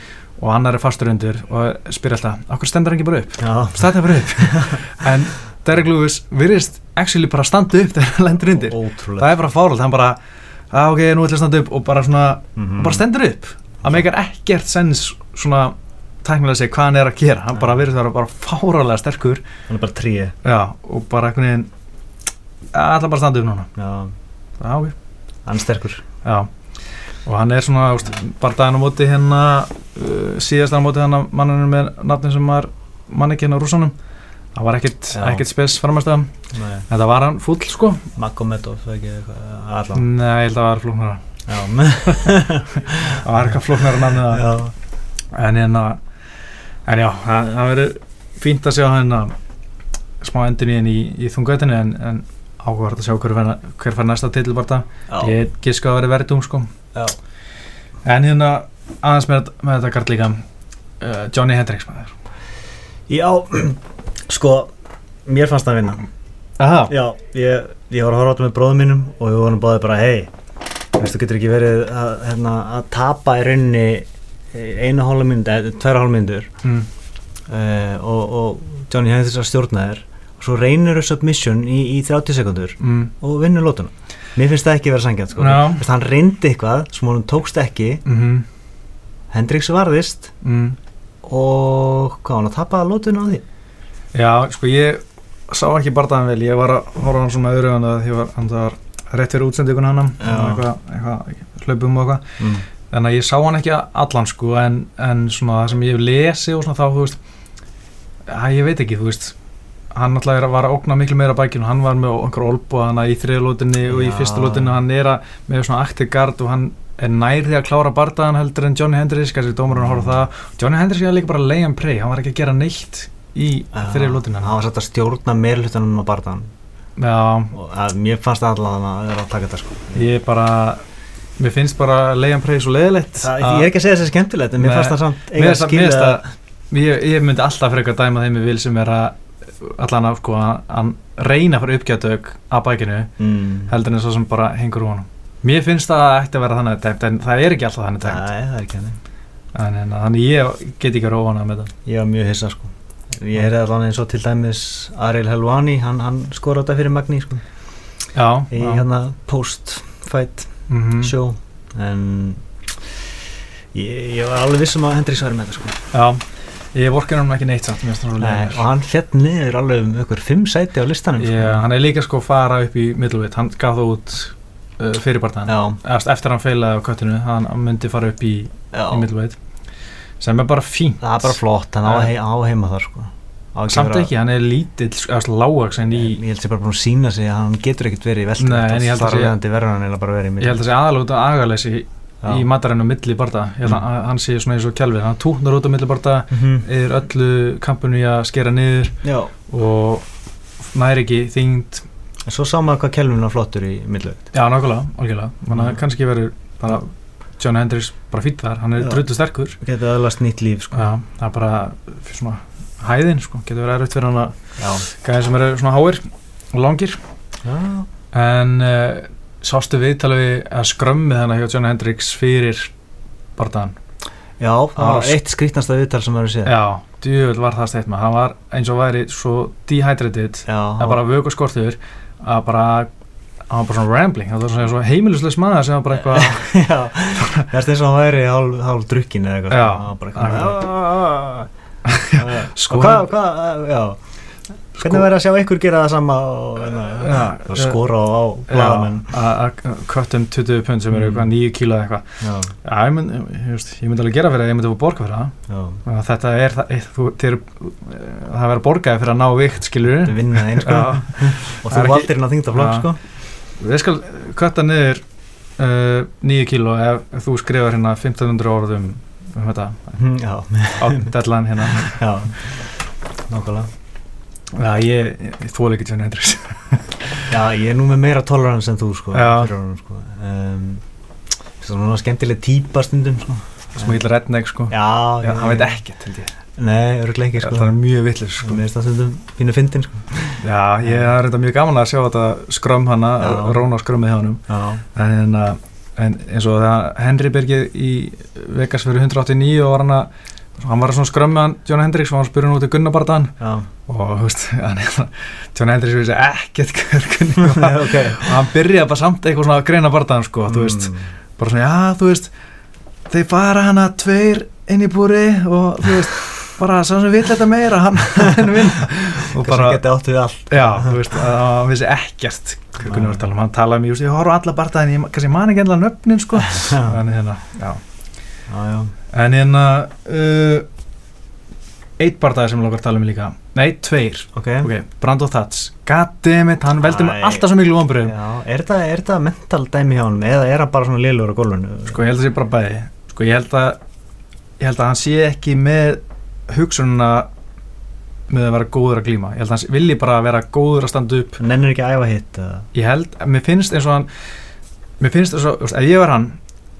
Speaker 1: og annar er fastur undir og spyr alltaf okkur stendur hann ekki bara upp,
Speaker 2: já,
Speaker 1: stendur bara upp en Derek Lewis virðist actually bara standa upp þegar hann lendur undir
Speaker 2: ótrúlega
Speaker 1: það er bara fáralt, hann bara að ok, nú ætla ég að standa upp og bara svona
Speaker 2: Mhm.
Speaker 1: og bara stendur upp það meikar ekkert sens svona tæknilega að segja hvað hann er að gera hann bara verður það bara fáralega sterkur
Speaker 2: Hann er bara 3
Speaker 1: já, og bara einhvern veginn alltaf bara að standa upp núna
Speaker 2: Já,
Speaker 1: já, ok.
Speaker 2: hann er sterkur
Speaker 1: já. og hann er svona úst, bara daginn á móti hérna uh, síðast á móti hérna manninu með nafnin sem var mann ekki hérna rússanum það var ekkert,
Speaker 2: Já.
Speaker 1: ekkert spes framast að
Speaker 2: Nei,
Speaker 1: þetta var hann fúll sko
Speaker 2: Magomedov, það er ekki eitthvað Allan,
Speaker 1: nei, ég held að það var flóknara
Speaker 2: já, með
Speaker 1: Mm. það var eitthvað flóknara nafnið að
Speaker 2: Já, [LAUGHS]
Speaker 1: en hérna en já, það, það verður fínt að sjá hérna smá endur í, í þungvætinu en, en áhugavert að sjá hver, fer- hver fær næsta titilbarta
Speaker 2: já,
Speaker 1: ég giska að verði verðum sko
Speaker 2: já
Speaker 1: en hérna aðeins með, með þetta gard líka uh, Johnny Hendricks maður
Speaker 2: Já, sko, mér fannst það að vinna
Speaker 1: Aha,
Speaker 2: Já, ég, ég var að horfa á þetta með bróðum mínum og við vorum báðið bara, hei Þú getur ekki verið að, hérna, að tapa í rauninni einu hálfa mynd, tverja hálfa myndur
Speaker 1: mm,
Speaker 2: uh, og, og Johnny hefði þess að stjórna þér og svo reynir þau submission í, í 30 sekundur
Speaker 1: mm,
Speaker 2: og vinnur lótuna mér finnst það ekki vera sangjant sko.
Speaker 1: Já.
Speaker 2: Veist, hann reyndi eitthvað sem honum tókst ekki
Speaker 1: mm,
Speaker 2: Hendrix varðist
Speaker 1: mm.
Speaker 2: og hvað hann að tapa lótuna á því
Speaker 1: já, sko ég sá ekki bardaðan vel, ég var að horfa á hann svona öðru en það var, hann það var rétt fyrir útsendikun hann
Speaker 2: Já.
Speaker 1: eitthvað, eitthvað, hlaupum og eitthvað
Speaker 2: mm.
Speaker 1: þannig að ég sá hann ekki allan sko en, en svona það sem ég hef lesi og svona þá þú veist að ég veit ekki þú veist hann náttúrulega er að vara að ógna miklu meira bækinu hann var með einhver olbúa hann í þriðlótinni og í
Speaker 2: Já.
Speaker 1: fyrstu lótinni hann er að með svona aktiv gard og hann er nær því að klára bardaðan heldur en Johnny Hendricks kannski dómarinn horf það Johnny Hendricks er líka bara lay and pray hann var ekki að gera neitt í þriðlótinni
Speaker 2: hann var satt að stjórna meirlutunum á barðan
Speaker 1: já
Speaker 2: og að, mér fannst allan að það er að taka þetta sko.
Speaker 1: ég bara mér finnst bara lay and pray svo leiðilegt
Speaker 2: það,
Speaker 1: að-
Speaker 2: ég er ekki að segja þessi skemmtilegt en mér
Speaker 1: Nei.
Speaker 2: fannst það samt
Speaker 1: Mér
Speaker 2: eiga
Speaker 1: finnst það- mér finnst
Speaker 2: að skilja
Speaker 1: það ég, ég myndi alltaf frekar dæma þeim við vil sem er að allan að sko að að reyna fyrir uppgjátauk að bækinu
Speaker 2: mm.
Speaker 1: heldur en svo sem bara hengur úr honum Mér finnst það að ætti að vera þannig dæmt en það er ekki alltaf þannig dæmt
Speaker 2: Nei, það er ekki hann
Speaker 1: en, en, þannig ég get ekki verið óvanað með það
Speaker 2: Ég var mjög hissa sko Ég heyrði allan eins og til dæmis Ariel Helwani, hann, hann skora þetta fyrir Magni sko,
Speaker 1: Já,
Speaker 2: í
Speaker 1: já.
Speaker 2: hérna post-fight
Speaker 1: mhm.
Speaker 2: show en ég, ég var alveg viss um að Hendrix var með þetta sko
Speaker 1: já ég vorkar hann ekki neitt samt mér finnst hann svo
Speaker 2: Nei,
Speaker 1: leiðinlegur.
Speaker 2: og hann fjall niður alveg um ykkur fimm sæti á listanum sko.
Speaker 1: Já, hann er líka sko að fara upp í middleweight, hann gaf það út uh, fyrirpartan,
Speaker 2: já,
Speaker 1: eftir að hann feilaði á köttinu, hann hann myndi fara upp í,
Speaker 2: já.
Speaker 1: í middleweight sem er bara fínt,
Speaker 2: það er bara flott, hann á, hei, á heima þar sko. Á
Speaker 1: samt
Speaker 2: vera-
Speaker 1: ekki, hann er lítill, sko, lágaks en í,
Speaker 2: ég held sér bara búin að sína sig að hann getur ekkert verið í veltu
Speaker 1: Nei, en ég held að
Speaker 2: þar
Speaker 1: sé-
Speaker 2: leðandi verður hann eiginlega bara verið í
Speaker 1: ég held að segja aðalúta agalessi í
Speaker 2: mitt
Speaker 1: matarennu milli barda, ég held að að hann sé svona eins og kjálfið, hann tútnar út á milli barda, yfir öllu kampinu í að skera niður
Speaker 2: Mhm. já,
Speaker 1: og næri ekki þyngd,
Speaker 2: en svo sá maður hvað kelvin var flottur í mittlaut
Speaker 1: já nákvæmlega, algjörlega, þannig að
Speaker 2: Mhm.
Speaker 1: kannski verður bara John Hendricks bara fýtt þar, hann er
Speaker 2: Já.
Speaker 1: drullu sterkur
Speaker 2: getur aðlast nýtt líf sko.
Speaker 1: Já, það er bara svona hæðin, sko, getur verið erfitt fyrir hann að
Speaker 2: já,
Speaker 1: gæðin sem eru svona háir og langir
Speaker 2: já.
Speaker 1: en uh, sástu viðtalið við að skrömmið hann hjá John Hendricks fyrir bardaðan
Speaker 2: já það
Speaker 1: var
Speaker 2: var eitt skrítnasta viðtal sem maður séð
Speaker 1: Ah. Já, djöfull var það steitt maður hann var eins og væri svo dehydrated
Speaker 2: já,
Speaker 1: að
Speaker 2: [LAUGHS]
Speaker 1: bara vöku skortur að bara hann var bara svona rambling, það var svona, svona heimilisleis maður sem var bara eitthvað
Speaker 2: já. það er eins og hann væri hálf, hálf drukkin eða eitthvað "Ah,
Speaker 1: Já.
Speaker 2: svona. hann var bara eitthvað
Speaker 1: Sko-
Speaker 2: sko, ah." hvað, hvað, já hvernig verður að sjá ykkur gera það sama og,
Speaker 1: Já,
Speaker 2: hérna, og
Speaker 1: já.
Speaker 2: skora á blaðamenn
Speaker 1: Já, að- að köttum 20 pund sem eru
Speaker 2: Mm.
Speaker 1: eitthvað 9 kíla eitthvað
Speaker 2: já,
Speaker 1: Já, ég myndi mynd, mynd alveg gera fyrir það, ég myndi að borga fyrir það
Speaker 2: já,
Speaker 1: Þannig að Þetta er það, eitt- þú, þér, eh, það verður borgaði fyrir að ná vikt, skilur
Speaker 2: þetta vinna einn sko
Speaker 1: Já, Það
Speaker 2: og þú
Speaker 1: er ekki-
Speaker 2: valdir hérna þingtaflokk
Speaker 1: Já.
Speaker 2: sko
Speaker 1: ég skal kvötta niður uh, 9 kíló ef, ef þú skrifar hérna 1500 orðum um þetta,
Speaker 2: Mm, Já, [LAUGHS]
Speaker 1: á deadline hérna.
Speaker 2: já, nákvæmlega.
Speaker 1: Já, ég, ég þóla ekki John Hendricks. [LAUGHS]
Speaker 2: Já, ég er nú með meira tolerance en þú, sko.
Speaker 1: Já.
Speaker 2: fyrir honum, sko. Um, svona skemmtileg típa stundum, sko.
Speaker 1: Svo mikill redneck, sko.
Speaker 2: Já,
Speaker 1: Já,
Speaker 2: ég-
Speaker 1: hann veit ekkert, held ég.
Speaker 2: Nei, örgulega ekki,
Speaker 1: Já,
Speaker 2: sko.
Speaker 1: Það er mjög villur,
Speaker 2: sko.
Speaker 1: sko.
Speaker 2: Mér finnst það stundum pínu fyndin, sko.
Speaker 1: Já, ég það er reynda mjög gaman að sjá þetta skrömm hana,
Speaker 2: Já.
Speaker 1: róna skrömmið hjá hannum.
Speaker 2: Já,
Speaker 1: En, hérna, en eins og það Henry Birgir í Vegas fyrir 189 og var hann að, hann var að svona skrömmið hann, John Hendricks, og hann spurði hann út í Gunnabardan [LAUGHS]
Speaker 2: já.
Speaker 1: og þú veist, hann er John Hendricks vissi ekkert hver kunni
Speaker 2: [LAUGHS]
Speaker 1: var
Speaker 2: ok.
Speaker 1: og hann byrjaði bara samt eitthvað svona að greina bardaðan sko, þú veist,
Speaker 2: Mm.
Speaker 1: bara svona, já, þú veist þeir fara hana tveir inn í búri og þú veist bara sá sem vill þetta meira, hann [LAUGHS] hann vinna og
Speaker 2: Hvað
Speaker 1: bara,
Speaker 2: sem geti átt við allt.
Speaker 1: já, þú veist að hann vissi ekkert hvað kunni var að tala um, hann talaði um, ég veist, ég horfa á alla bardaðin, ég ma- kannski man ekki endilega nöfnin
Speaker 2: [LAUGHS]
Speaker 1: sko,
Speaker 2: Já,
Speaker 1: en hérna, já
Speaker 2: já,
Speaker 1: en hérna uh, eitt bardaði sem lókar tala um líka, nei, tveir
Speaker 2: ok.
Speaker 1: Ok, Brando Thats Goddammit, hann veldi
Speaker 2: Æ.
Speaker 1: mig alltaf svo miklu vonbröðum
Speaker 2: Já, er það, er það mental dæmi hjá honum eða er hann bara svona liðlur á gólfinu?
Speaker 1: Sko, ég held að sé bara bæði Sko, ég held að Ég held að hann sé ekki með hugsununa með að vera góður að glíma Ég held að hann sé- vilji bara vera góður að standa upp
Speaker 2: Nennir ekki að æfa hitt? eða?
Speaker 1: Ég held, mér finnst eins og hann Mér finnst eins og, þú veist, ef ég var hann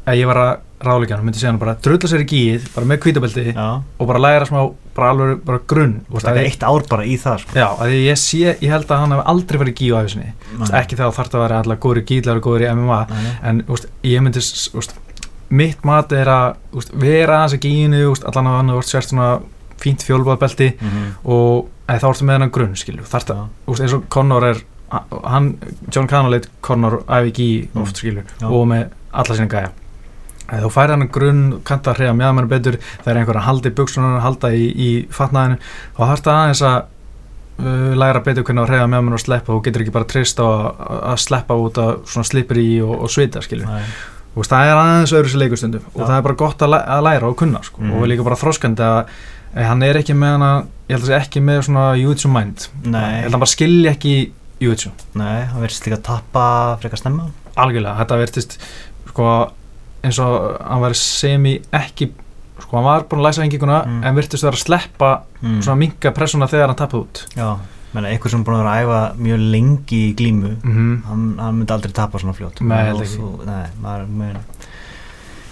Speaker 1: Ef ég var að ráleika hann, myndi segja hann bara Drulla sér í gíð, bara með kvítabelti
Speaker 2: Já,
Speaker 1: Og bara læra smá, bara alveg, bara grunn Þú veist,
Speaker 2: það
Speaker 1: að
Speaker 2: er
Speaker 1: ég-
Speaker 2: eitt ár bara í það, sko.
Speaker 1: Já, að ég sé, ég held að hann hef aldrei verið gíð á æfisinni Þú veist, ekki þegar þarf það að vera alltaf góður í gíðlar og góður í MMA
Speaker 2: Nei.
Speaker 1: en úst, ég myndi s- úst, mitt mat er að úst, vera aðeins í gíðinu, úst, allan að hann úst, sért svona fínt fjólbáðbelti
Speaker 2: Mhm.
Speaker 1: og eða, þá ertu með hennan grunn skilju þarft að, úst, eins og Conor er a- hann, John Connor leit Conor æfi í
Speaker 2: Mm.
Speaker 1: oft skilju
Speaker 2: Já.
Speaker 1: og með alla sína gæja Ef þú færi hennan grunn, kannt að hreyja meðan mann betur það er einhver að halda í buksunum, halda í, í fatnaðinu þá þarft aðeins að uh, læra betur hvernig að hreyja meðan mann og sleppa þú getur ekki bara trist á að, að sleppa út að svona slipper í og, og svita skilju
Speaker 2: Nei.
Speaker 1: Þú veist, það er aðeins öðru sér leikustundum og
Speaker 2: Já.
Speaker 1: það er bara gott að, læ að læra og kunna sko.
Speaker 2: Mhm.
Speaker 1: og líka bara þroskandi að eh, hann er ekki með hana, ég held að það sé ekki með svona júitsu mind, ég
Speaker 2: Nei,
Speaker 1: held að hann bara skilja ekki júitsu,
Speaker 2: nei, hann verðist líka að tappa frekar snemma
Speaker 1: algjörlega þetta verðist sko, eins og hann var semi ekki sko, hann var búin að læsa henginguna
Speaker 2: Mm.
Speaker 1: en virtist vera að sleppa
Speaker 2: mm.
Speaker 1: svona minka pressuna þegar hann tappið út
Speaker 2: Já, menna einhver sem er búin að vera að æfa mjög lengi í glímu
Speaker 1: mm
Speaker 2: hann, hann myndi aldrei tappa svona fljótt
Speaker 1: Nei, held
Speaker 2: Og
Speaker 1: ekki.
Speaker 2: þú- Nei, maður mun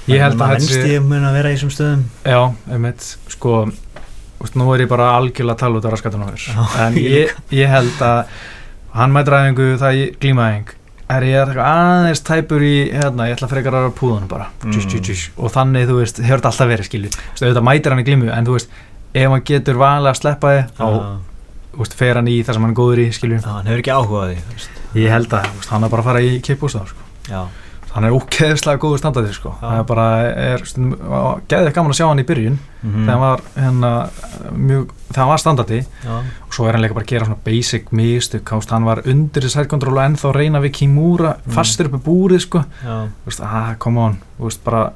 Speaker 1: ég held að þetta
Speaker 2: þetta
Speaker 1: sé-
Speaker 2: sé mun að vera í þessum stöðum
Speaker 1: Já, einmitt, sko úst, nú er ég bara algjörlega að tala út af raskatun á þér en
Speaker 2: ég
Speaker 1: ég, ég held að hann mætir aðingu það ég glíma aðing er ég eitthvað aðeins tæpur í hérna, ég ætla frekar að púðunum bara tjús, tjús,
Speaker 2: Mm.
Speaker 1: tjús. og þannig, þú veist, hefur þetta alltaf verið skilju, þú veist, auðvitað mætir hann í glímu en þú veist, ef hann getur vanlega að sleppa þið þá,
Speaker 2: Já,
Speaker 1: þú veist, fer hann í það sem hann er góður í skilju,
Speaker 2: já, hann hefur ekki áhuga á því þú veist.
Speaker 1: ég held að, þú veist, hann er bara að fara í kippústa, sko
Speaker 2: Já,
Speaker 1: hann er ókeðislega góður standaði sko.
Speaker 2: Já.
Speaker 1: það er bara, er geðið gaman að sjá hann í byrjun
Speaker 2: Mhm.
Speaker 1: þegar hann var, hérna, mjög, þegar hann var standaði
Speaker 2: Já.
Speaker 1: og svo er hann líka bara að gera svona basic mistök, ást, hann var undir þess hættkontról og ennþá reyna við Kimura
Speaker 2: Mm.
Speaker 1: fastur upp í búrið sko,
Speaker 2: Já.
Speaker 1: Þú veist, ah, come on Þú veist, bara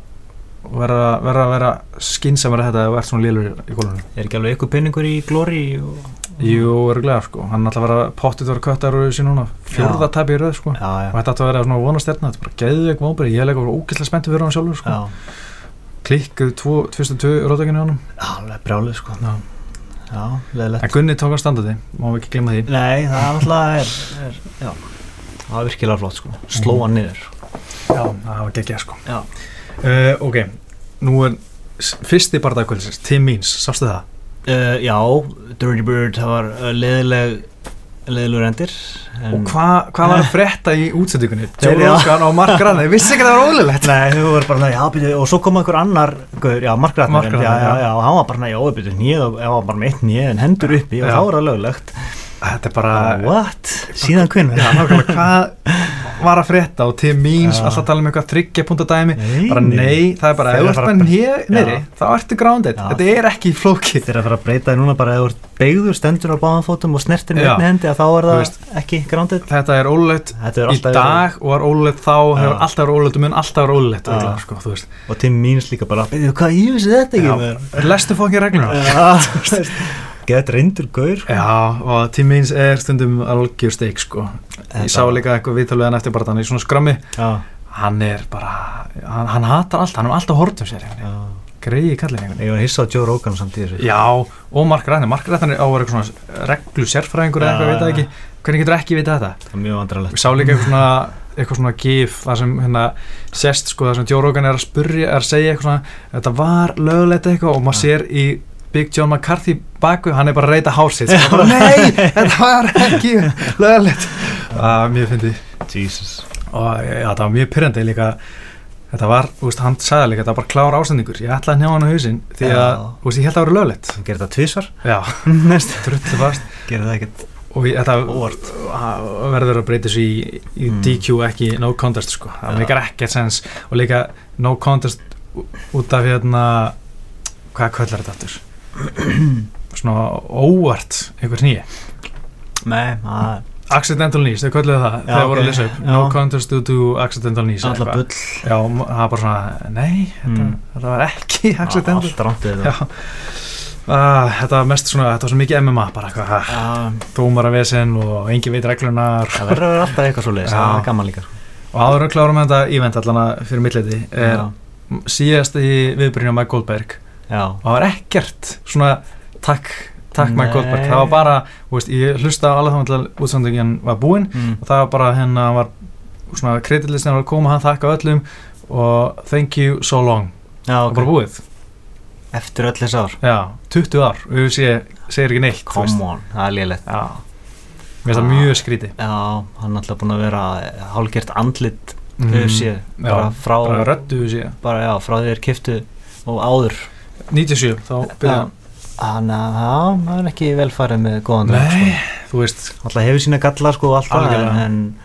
Speaker 1: vera, vera, vera skinsamur að þetta ef þú ert svona lélur í gólunum
Speaker 2: Er ekki alveg eitthvað penningur í Glory og...
Speaker 1: Jú, örgulega sko, hann ætla að vera pottið vera köttar úr þessu núna, fjórða tæpi í röð sko
Speaker 2: Já, já.
Speaker 1: og þetta átti að vera svona vonastjarna þetta er bara geðveik móbrið, ég er leika ógæslega spenntið fyrir hann sjálfur sko.
Speaker 2: Já.
Speaker 1: klikkuð 2.2 rótökinu á hann
Speaker 2: Alveg brjálið sko.
Speaker 1: Já.
Speaker 2: Já, leðilegt.
Speaker 1: en Gunni tók að standa því, má við ekki glemma því
Speaker 2: Nei, það er alltaf, er, er, já, það er virkilega flott sko. Sló hann niður.
Speaker 1: já, það var geggjað sko
Speaker 2: Já.
Speaker 1: uh, ok, nú er s- fyrsti bardagkvöldsins, Tim Means, sástu það?
Speaker 2: Uh, já, Dirty Bird, það var uh, leðileg, leðilegur endir. En...
Speaker 1: og hva, hvað var að frétta í útsendingunni? Joe
Speaker 2: Mm. Þeir, já.
Speaker 1: Rogan og Mark Rann ég vissi ekki að það var
Speaker 2: [LAUGHS]
Speaker 1: ólulegt
Speaker 2: Nei, þau voru bara, já, byrju, og svo kom einhver annar, gaur, já, markræðnir,
Speaker 1: Mark Ratner,
Speaker 2: já, já,
Speaker 1: já.
Speaker 2: já, og hann var bara, já, byrju, nýð, já, bara með eitt nýð, en hendur uppi, og
Speaker 1: Já.
Speaker 2: þá var það löglegt.
Speaker 1: þetta er bara
Speaker 2: Ah, What? Síðan
Speaker 1: Já,
Speaker 2: hvernig?
Speaker 1: nákvæmlega, hvað var að frétta og Tim Means
Speaker 2: Já.
Speaker 1: alltaf tala um eitthvað þryggjapuntadæmi
Speaker 2: Nei,
Speaker 1: bara nei, það er bara
Speaker 2: Þeir
Speaker 1: ef
Speaker 2: eru
Speaker 1: þú ert
Speaker 2: bara-
Speaker 1: með hér
Speaker 2: Já.
Speaker 1: neyri, þá ertu grounded
Speaker 2: Já.
Speaker 1: þetta er ekki flókið
Speaker 2: Þeir eru að fara að breyta þér núna bara ef þú ert beigður, stendur á báðanfótum og snertir með
Speaker 1: Já.
Speaker 2: einni hendi að þá er
Speaker 1: Þú
Speaker 2: það
Speaker 1: veist.
Speaker 2: ekki grounded.
Speaker 1: þetta er ólögt
Speaker 2: Þetta er
Speaker 1: í
Speaker 2: alltaf
Speaker 1: dag og var ólögt þá hefur
Speaker 2: Já.
Speaker 1: alltaf verið ólögt og mun alltaf verið ólögt
Speaker 2: Já.
Speaker 1: örugglega, sko, þú veist.
Speaker 2: og Tim Means líka bara, beigðu, hvað ég vissi þetta ekki með
Speaker 1: Já, lestu fókið regluna
Speaker 2: [LAUGHS] þér? Gett reyndur gaur.
Speaker 1: Já, og Tim Means er stundum algjör steik sko.
Speaker 2: Þetta-
Speaker 1: Ég sá líka eitthvað viðtalið hann eftir bara þannig í svona skrömmi
Speaker 2: Já,
Speaker 1: Hann er bara, hann, hann hatar allt, hann er alltaf hortum sér einhvern
Speaker 2: já.
Speaker 1: veginn. Greiði kallin einhvern veginn
Speaker 2: Ég var að hissa á Joe Rogan samt í þessu.
Speaker 1: Já, og Mark Ræðnir, Mark Ræðnir á að vera eitthvað svona reglu sérfræðingur eða eitthvað,
Speaker 2: Já,
Speaker 1: ég veit það
Speaker 2: já.
Speaker 1: ekki Hvernig getur ekki vita þetta?
Speaker 2: Það er mjög vandrarlegt.
Speaker 1: Ég sá líka eitthvað svona, eitthvað svona gif þar sem hérna sést sko þar sem Joe Rogan er að spurja, er að segja eitthvað svona þetta var lögulegt eitthvað og maður sér í Big John McCarthy baku hann er bara að reyta hálsitt
Speaker 2: Já.
Speaker 1: bara, Nei, þetta var ekki lögulegt uh, Mjög fyndi
Speaker 2: Jesus.
Speaker 1: og já, það var mjög pyrrandi líka Þetta var, þú veist, hann sagði líka, þetta var bara klár ásendingur, ég ætlaði að njá hann á hausinn því að,
Speaker 2: Já.
Speaker 1: þú veist, ég held að það voru löglegt.
Speaker 2: Hann gerir það tvísvar.
Speaker 1: Já,
Speaker 2: Næst.
Speaker 1: drullu fast.
Speaker 2: Gerir það ekkert
Speaker 1: og ég- þetta
Speaker 2: óvart.
Speaker 1: að- verður að breyta svo í, í
Speaker 2: Mm.
Speaker 1: DQ ekki no contest sko, það
Speaker 2: Já.
Speaker 1: meikar ekkert sens og líka no contest ú- út af hérna hvað kallar þetta
Speaker 2: [CLEARS THROAT]
Speaker 1: aftur svona óvart einhver nýja,
Speaker 2: Nei, það
Speaker 1: accidental knees, þau kalluðu það þegar
Speaker 2: ok.
Speaker 1: voru að lesa upp, no
Speaker 2: Já.
Speaker 1: contest due to accidental knees
Speaker 2: er
Speaker 1: eða
Speaker 2: alltaf
Speaker 1: eitthvað.
Speaker 2: bull.
Speaker 1: já, m- það var bara svona, nei þetta,
Speaker 2: Mm.
Speaker 1: þetta var ekki accidental
Speaker 2: Alltaf
Speaker 1: já,
Speaker 2: rántið þetta.
Speaker 1: Ah, þetta var mest svona, þetta var svo mikið MMA bara hvað,
Speaker 2: Já.
Speaker 1: dómaravesen og engin veit reglunar
Speaker 2: Það verður að vera alltaf eitthvað svo leiðis.
Speaker 1: Já.
Speaker 2: Það er gaman líka.
Speaker 1: Og áður en við klárum þetta ívent allan að fyrir milliti er
Speaker 2: Já.
Speaker 1: síðast í viðbyrjunum Mike Goldberg
Speaker 2: Já.
Speaker 1: og það var ekkert svona takk, takk Mike
Speaker 2: Nei.
Speaker 1: Goldberg það var bara, þú veist, ég hlusta alveg þá til útsendingin var búinn
Speaker 2: Mm.
Speaker 1: og það var bara hérna hann var svona kreditlistin var að koma hann þakka öllum og thank you so long
Speaker 2: Já,
Speaker 1: það var bara
Speaker 2: ok.
Speaker 1: búið,
Speaker 2: Eftir öll þess ár.
Speaker 1: já, 20 ár og við sé, segir ekki neitt, þú
Speaker 2: Come on. Það er liðilegt.
Speaker 1: já, mér finnst það
Speaker 2: Ah.
Speaker 1: mjög skríti
Speaker 2: Já, hann er alltaf búin að vera hálgert andlit UFC. Mm. Bara
Speaker 1: Mm. já, bara
Speaker 2: frá,
Speaker 1: röddu við sé
Speaker 2: bara já, frá þér kiftu og áður.
Speaker 1: 97, þá byrja
Speaker 2: Þannig að já, það er ekki vel farið með góðan dreng, sko.
Speaker 1: nei, þú veist,
Speaker 2: alltaf hefur sína galla sko og allt það en,
Speaker 1: Algjörlega.
Speaker 2: en,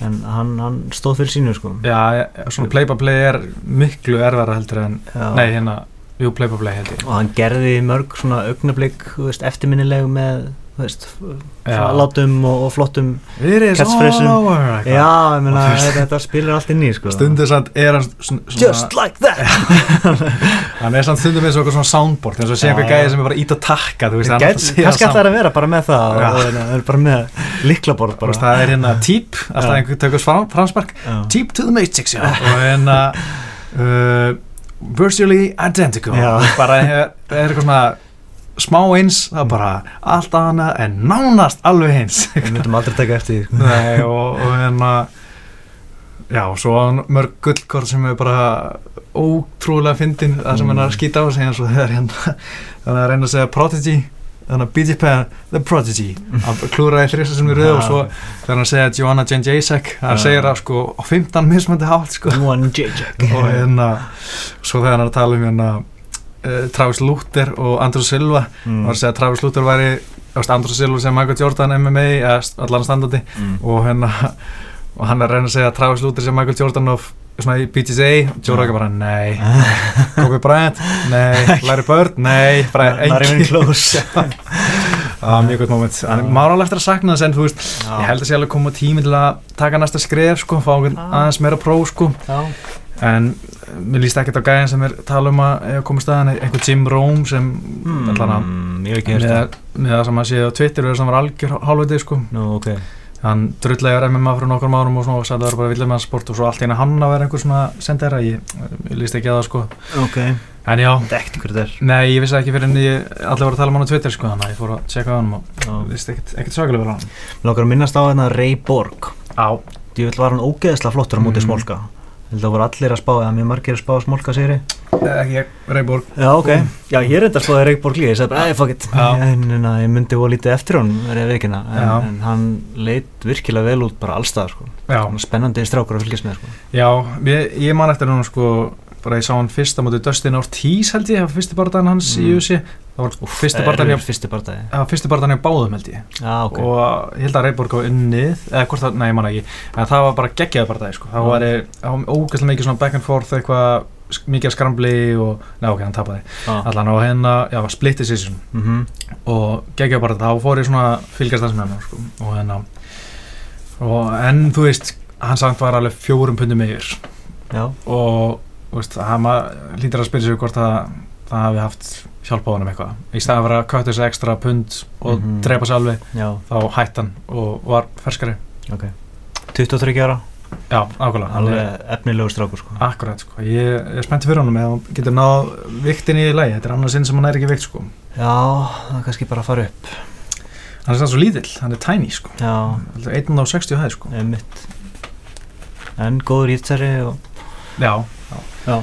Speaker 2: en hann, hann stóð fyrir sínu sko
Speaker 1: Já, svona play-by-play er miklu erfara heldur en
Speaker 2: Já.
Speaker 1: Nei, hérna, jú, play-by-play heldur
Speaker 2: og hann gerði mörg svona augnablík þú veist, eftirminnilegu með þú veist, svona látum og, og flottum
Speaker 1: It is
Speaker 2: Catchphraseum.
Speaker 1: all over
Speaker 2: já, ég meina,
Speaker 1: Og þú veist-
Speaker 2: þetta spilir allt inn í sko
Speaker 1: Stundur samt er hann svona,
Speaker 2: just
Speaker 1: svona
Speaker 2: like that
Speaker 1: Hann er samt stundum með svona soundboard eins og sé
Speaker 2: Já.
Speaker 1: einhver gæði sem er bara ít að takka Þú veist, hann
Speaker 2: Gæt-
Speaker 1: alltaf sé
Speaker 2: kannski
Speaker 1: það
Speaker 2: ætlar að vera bara með það
Speaker 1: Já.
Speaker 2: og, og, og, bara með liklaborð
Speaker 1: Þú veist,
Speaker 2: bara
Speaker 1: það er hérna típ Alltaf
Speaker 2: Já.
Speaker 1: einhver tökur fram, framspark
Speaker 2: já,
Speaker 1: Típ to the matrix, já Og hérna uh, Virtually identical
Speaker 2: Já.
Speaker 1: Bara er, er eitthvað svona smá eins Það er bara allt annað en nánast alveg eins
Speaker 2: við myndum aldrei taka eftir því, sko.
Speaker 1: Nei, og, og hérna Já, og svo á hann mörg gullkort sem er bara ótrúlega fyndin það sem hann er að skýta á sig eins [LAUGHS] og þegar hérna þannig að reyna að segja Prodigy þannig að BJ Penn, The Prodigy að klúraði þrjusar sem við röðu og svo þegar hann segja Joanna Jane Jacek hann
Speaker 2: Já.
Speaker 1: segir það sko á 15 mismöndi hátt sko
Speaker 2: one JJ
Speaker 1: [LAUGHS] og hérna svo þegar hann er að tala um hérna eh, Travis Luther og Andrew Silva
Speaker 2: Mm,
Speaker 1: var að segja að Travis Luther væri þú veist, Andrew Silva sem Michael Jordan MMA eða st- allan standandi
Speaker 2: mm.
Speaker 1: og hérna og hann er að reyna að segja að Travis Luther sem Michael Jordan of svona í BTSA, Joe Raga bara
Speaker 2: [LAUGHS]
Speaker 1: nei Kobe Bryant, nei Larry Bird, nei, bara
Speaker 2: Not even
Speaker 1: [LAUGHS]
Speaker 2: close
Speaker 1: Það var mjög gott moment, en maður á alveg eftir að sakna þess en þú veist,
Speaker 2: Já.
Speaker 1: ég held að sé alveg koma tími til að taka næsta skref sko, fá einhvern
Speaker 2: Já.
Speaker 1: aðeins meira próf sko
Speaker 2: Já.
Speaker 1: en eh, mér líst ekkert á gæðin sem er tala um að eh, koma í staðan, einhver Jim Rome sem mm. allan að
Speaker 2: Mm, ég hef ekki
Speaker 1: með,
Speaker 2: hérst það
Speaker 1: með það sem að séð á Twitter er sem var algjör hálfviti sko
Speaker 2: Nú, ok
Speaker 1: hann drullegar MMA fyrir nokkrum árum og svona og sagði að það var bara villið með hans sport og svo allt í henni hann að vera einhver svona sendera ég, ég líst ekki að það sko
Speaker 2: Ok
Speaker 1: en já,
Speaker 2: Það er ekkert hver það er
Speaker 1: nei ég vissi það ekki fyrir en ég allir voru að tala um hann á Twitter sko þannig að ég fór að checka á hann og líst ekkert, ekkert svakalega vel á hann
Speaker 2: Lókar að minnast á hérna Ray Borg
Speaker 1: á,
Speaker 2: Djúvill var hann ógeðslega flottur á móti
Speaker 1: Mm.
Speaker 2: smólka Ég held að voru allir að spá eða mjög margir að spá smólka sigri
Speaker 1: eh, ekki ég, Reyborg
Speaker 2: Já, ok Já, ég er enda að spáði Ray Borg líka Ég sagði bara, æ, fuck it
Speaker 1: Já.
Speaker 2: En en að ég myndi voru lítið eftir hún verið að veikina en,
Speaker 1: Já.
Speaker 2: en hann leit virkilega vel út bara allstað sko.
Speaker 1: já,
Speaker 2: Svona Spennandi strákur að fylgjast með sko.
Speaker 1: já ég, ég man eftir hann sko bara ég sá hann fyrst á móti Dustin Ortiz held ég, það var fyrsti barðan hans
Speaker 2: Mm.
Speaker 1: í USA það var fyrsti barðan
Speaker 2: Erfiður
Speaker 1: hjá,
Speaker 2: Fyrsti bardagi
Speaker 1: það var fyrsti barðan hjá báðum held ég
Speaker 2: Já, ok
Speaker 1: og ég held að Reyborg á unnið eða hvort það, nei, ég man ekki en það var bara geggjaði bara það, sko það
Speaker 2: Já.
Speaker 1: var, það var ógeðslega mikið svona back and forth eitthvað sk- mikið að skrambli og nei, ok, hann tapaði
Speaker 2: Já.
Speaker 1: allan og hérna, já, split decision
Speaker 2: Mhm.
Speaker 1: og geggjaði bara það, þá fór ég svona að fylgjast þess með hann, sko og hérna og en þú veist, hann samt var alveg fjórum pundum yfir
Speaker 2: Já,
Speaker 1: og, þú veist, hann maður lítur að spyrja sig hvort það, það hafi haft hjálp á honum eitthvað í staðan að vera að köttu þessi ekstra pund og
Speaker 2: Mhm.
Speaker 1: drepa sér alveg
Speaker 2: já,
Speaker 1: þá hætti hann og var ferskari
Speaker 2: 23 ára
Speaker 1: já, ákvæmlega hann er
Speaker 2: Alveg efnilegu strákur sko.
Speaker 1: akkurat sko, ég ég er spenntið fyrir honum eða hann getur náð viktinni í lagi þetta er annars sinn sem hann er ekki vikt sko hann
Speaker 2: Já, það er kannski bara að fara upp
Speaker 1: er sann svo lítill, hann er tiny sko
Speaker 2: Já,
Speaker 1: 160 hæði sko
Speaker 2: einmitt En góður ítsari og...
Speaker 1: já,
Speaker 2: Já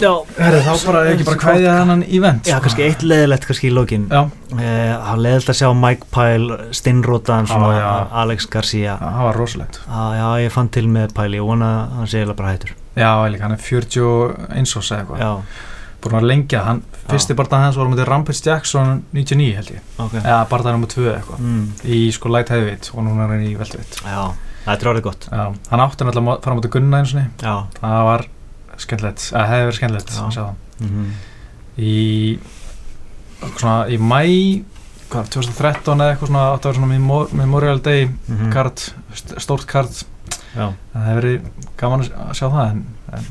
Speaker 2: Já,
Speaker 1: Herri, þá bara ekki bara kvæðið hann event
Speaker 2: já,
Speaker 1: sko.
Speaker 2: kannski eitt leðilegt kannski í lokin
Speaker 1: Já.
Speaker 2: Eh, Það var leðilegt að sjá Mike Pyle, Stinrótan,
Speaker 1: Já,
Speaker 2: svona
Speaker 1: Ah, já.
Speaker 2: Alex Garcia
Speaker 1: Já, það var rosalegt
Speaker 2: ah, Já, ég fann til með Pyle, ég vona að hann sé eða bara hættur
Speaker 1: já, ég líka, hann er 41 og segja eitthvað
Speaker 2: Já,
Speaker 1: búin að lengja, hann, fyrsti barndan hans var um þetta Rampage Jackson 99 held ég
Speaker 2: ok
Speaker 1: eða barndan um 2 eitthvað
Speaker 2: mm.
Speaker 1: í sko light heavyweight og núna er hann í veltvitt
Speaker 2: Já, þetta er orðið gott
Speaker 1: já, hann átti náttúrulega að fara á móti Gunna eins og
Speaker 2: Já
Speaker 1: það var skemmtilegt, eða hefði verið skemmtilegt
Speaker 2: Já.
Speaker 1: að sjá það.
Speaker 2: mm
Speaker 1: í svona í mæ hvað, 2013 eða eitthvað svona átti að vera svona memo- Memorial Day
Speaker 2: Mm.
Speaker 1: kart, st- stórt kart
Speaker 2: Já
Speaker 1: það hefði verið gaman að sj- að sjá það en, en,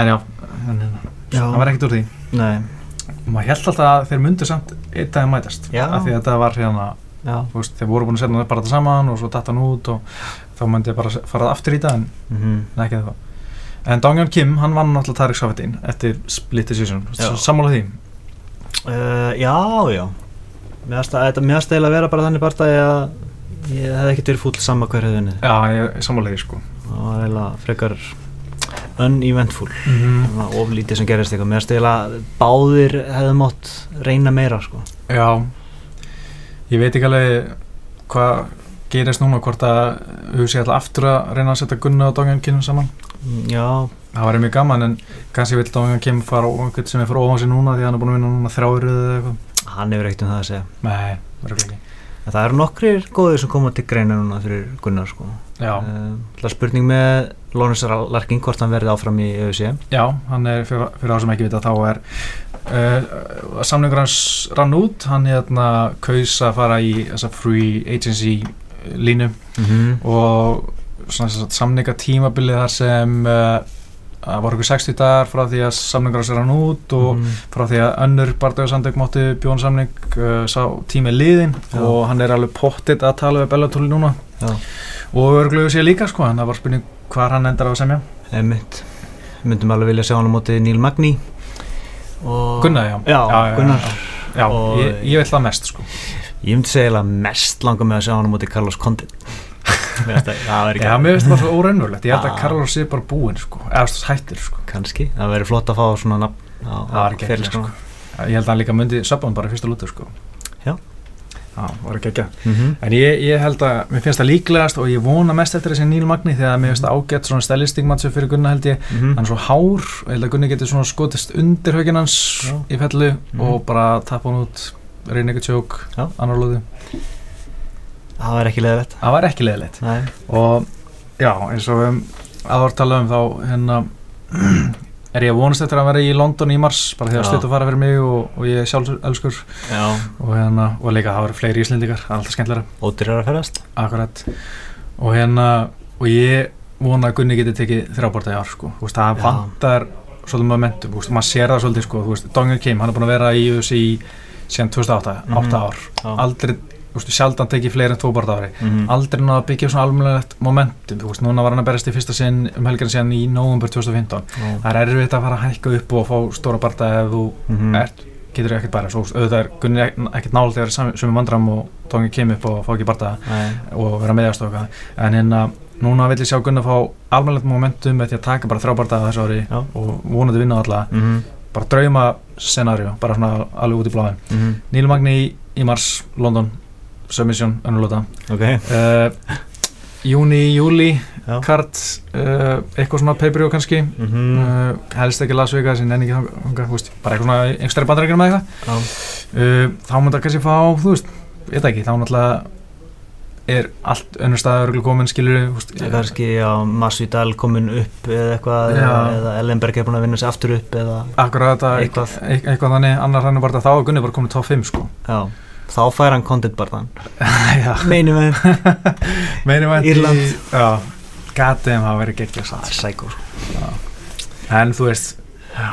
Speaker 1: en já en, en,
Speaker 2: Já.
Speaker 1: það var ekkert úr því
Speaker 2: Nei,
Speaker 1: maður held alltaf að þeir myndu samt einn dag mætast
Speaker 2: Já.
Speaker 1: af því að þetta var hérna
Speaker 2: já
Speaker 1: þú veist, þeir voru búin að setja bara þetta saman og svo datt hann út og þá myndi ég bara se- fara aftur í dag en
Speaker 2: Mhm.
Speaker 1: Nei, ekki það En Donghyun Kim, hann vann náttúrulega Tarek Safedin eftir split decision,
Speaker 2: Já.
Speaker 1: sammála því
Speaker 2: Uh, já, já Mér finnst að- þetta- mér finnst eiginlega að vera bara þannig partæði að ég hefði ekkert verið fúll sama hver hefði unnið
Speaker 1: Já, ég er sammála því sko
Speaker 2: Það var eiginlega frekar uneventful
Speaker 1: mm -hmm.
Speaker 2: Það var oflítið sem gerist eitthvað Mér finnst eiginlega báðir hefði mátt reyna meira sko
Speaker 1: Já Ég veit ekki alveg hvað gerist núna, hvort að við sé alltaf aftur að reyna að setja Gunna og Donghyun Kim saman
Speaker 2: Mm, Já,
Speaker 1: Það væri mjög gaman en kannski vil Donghyun Kim fara á einhvern sem er fyrir ofan sig núna því að hann er búin að vinna núna þrjárið eða eitthvað
Speaker 2: hann hefur eitt um það að segja
Speaker 1: Nei, verður ekki
Speaker 2: en Það eru nokkrir góðir sem koma til greina núna fyrir Gunnar sko
Speaker 1: Já,
Speaker 2: uh, Það er spurning með Lónus Larkin hvort hann verði áfram í E EUC
Speaker 1: já, hann er fyrir, fyrir það sem ekki vita þá er uh, samlingur hans rann út hann hérna kaus að fara í þessa free agency uh, línu
Speaker 2: mm
Speaker 1: Mhm.
Speaker 2: -hmm.
Speaker 1: og svona þess að samninga tímabilið þar sem uh, það voru ykkur 60 dagar frá því að samlingur hans rann út og
Speaker 2: Mhm.
Speaker 1: frá því að önnur barndagasamtök máttu bjóðan samning uh, sá tími liðin
Speaker 2: Já.
Speaker 1: og hann er alveg pottitt að tala við Bellator núna
Speaker 2: Já.
Speaker 1: og örgluðu sér líka sko en það var spurning hvar hann endar á að semja
Speaker 2: Einmitt. Myndum alveg vilja sjá hann á móti Níl Magni og...
Speaker 1: Gunnar, já.
Speaker 2: Já,
Speaker 1: Já, já,
Speaker 2: Gunnar
Speaker 1: Já,
Speaker 2: Og-
Speaker 1: ég, ég vil það mest sko
Speaker 2: Ég myndi segja eiginlega mest langa með að sjá hann á móti Carlos Condit Mér finnst það- Það verður
Speaker 1: Já, mér finnst það bara svo óreinverulegt Ég held
Speaker 2: Ah.
Speaker 1: að Carlos sé bara búinn, sko Eða þú veist, hættur, sko
Speaker 2: Kanski, það verður flott að fá svona nafn á,
Speaker 1: Það var ekki ekki,
Speaker 2: ferilskránna.
Speaker 1: Ég held að hann líka myndi söpun bara í fyrsta lútu, sko
Speaker 2: Já.
Speaker 1: Já, var ekki ekki
Speaker 2: Mhm.
Speaker 1: En ég, ég held að, mér finnst það líklegast og ég vona mest eftir þessi Níl Magni þegar mér finnst það ágætt svona stellistingmatsu fyrir Gunna held ég
Speaker 2: Mhm.
Speaker 1: Hann er svo hár, ég held að Gunni getur svona skotist undir hauginn hans
Speaker 2: Já.
Speaker 1: í fellu
Speaker 2: Mhm.
Speaker 1: og bara tappa hann út, reyna eitthvað tjók,
Speaker 2: Já.
Speaker 1: annar lúðu
Speaker 2: Það verður ekki leðilegt
Speaker 1: Það var ekki leðilegt
Speaker 2: Nei,
Speaker 1: og já, eins og við höfum að var að tala um þá hérna, [CLEARS THROAT] er ég að vonast eftir að vera í London í mars bara því að
Speaker 2: Já.
Speaker 1: stutt að fara fyrir mig og, og ég er sjálfselskur
Speaker 2: já,
Speaker 1: og, hérna, og líka það eru fleiri íslendingar, það er alltaf skemmtilega
Speaker 2: ódýrar að ferðast
Speaker 1: Akkurat og hérna og ég vona að Gunni geti tekið þrjáborta í ár sko, þú veist, það
Speaker 2: Já.
Speaker 1: vantar svolítið momentum, þú veist, maður sér það svolítið sko, þú veist, Donger Kim, hann er búin að vera í UFC síðan 2008,
Speaker 2: Mhm.
Speaker 1: 8 ár
Speaker 2: Já.
Speaker 1: aldrei, þú veist, sjaldan tekið fleiri en 2 borta ári,
Speaker 2: Mhm.
Speaker 1: aldrei náða að byggja upp svona almennilegt momentum, þú veist, núna var hann að berjast í fyrsta sinn um helgina síðan í november 2015
Speaker 2: Já.
Speaker 1: það er erfitt að fara að hækka upp og fá stóra barta ef þú
Speaker 2: Mhm.
Speaker 1: ert getur ekkert bara, svo þú veist, auðvitað er Gunni ek- ekkert nálægt að vera í sam- sömu vandram og tóngið kemur upp og fá ekki barta
Speaker 2: Nei.
Speaker 1: og vera meðjast og eitthvað en hérna núna vil ég sjá Gunnar fá almennilegt momentum með því að taka bara þrjábarta þessu ári
Speaker 2: Já.
Speaker 1: og vonandi vinna alla
Speaker 2: Mhm.
Speaker 1: bara drauma scenarjó, bara svona alveg út í bláin
Speaker 2: Mhm.
Speaker 1: Níl Magni í, í Mars, London Submission, önnulota
Speaker 2: ok,
Speaker 1: uh, Júni, júli
Speaker 2: já
Speaker 1: kart, uh, eitthvað svona pay-per-view kannski
Speaker 2: Mhm.
Speaker 1: uh, helst ekki Las Vegas en enn ekki þangað, þangað, þú veist, bara eitthvað svona einhverstari bandarækjum eða
Speaker 2: Já.
Speaker 1: eitthvað uh, þá mun það kannski fá, þú veist, ég veit ekki þá náttúrulega er allt önnur staður komin skilur veist,
Speaker 2: Það er kannski að Masvidal komin upp eða eitthvað,
Speaker 1: Já.
Speaker 2: eða Ellenberg er búin að vinna sér aftur upp eða,
Speaker 1: akkurat að eitthvað.
Speaker 2: Eitthvað.
Speaker 1: eitthvað þannig annar hann er bara þá er Gunni bara komin í top 5 sko [LAUGHS]
Speaker 2: já, þá fær hann content barðan.
Speaker 1: já,
Speaker 2: Meinum við,
Speaker 1: [LAUGHS] meiri vænt
Speaker 2: Írland.
Speaker 1: já, gatiðum hafa verið geggjað satt
Speaker 2: það er sækó, sko.
Speaker 1: en þú veist,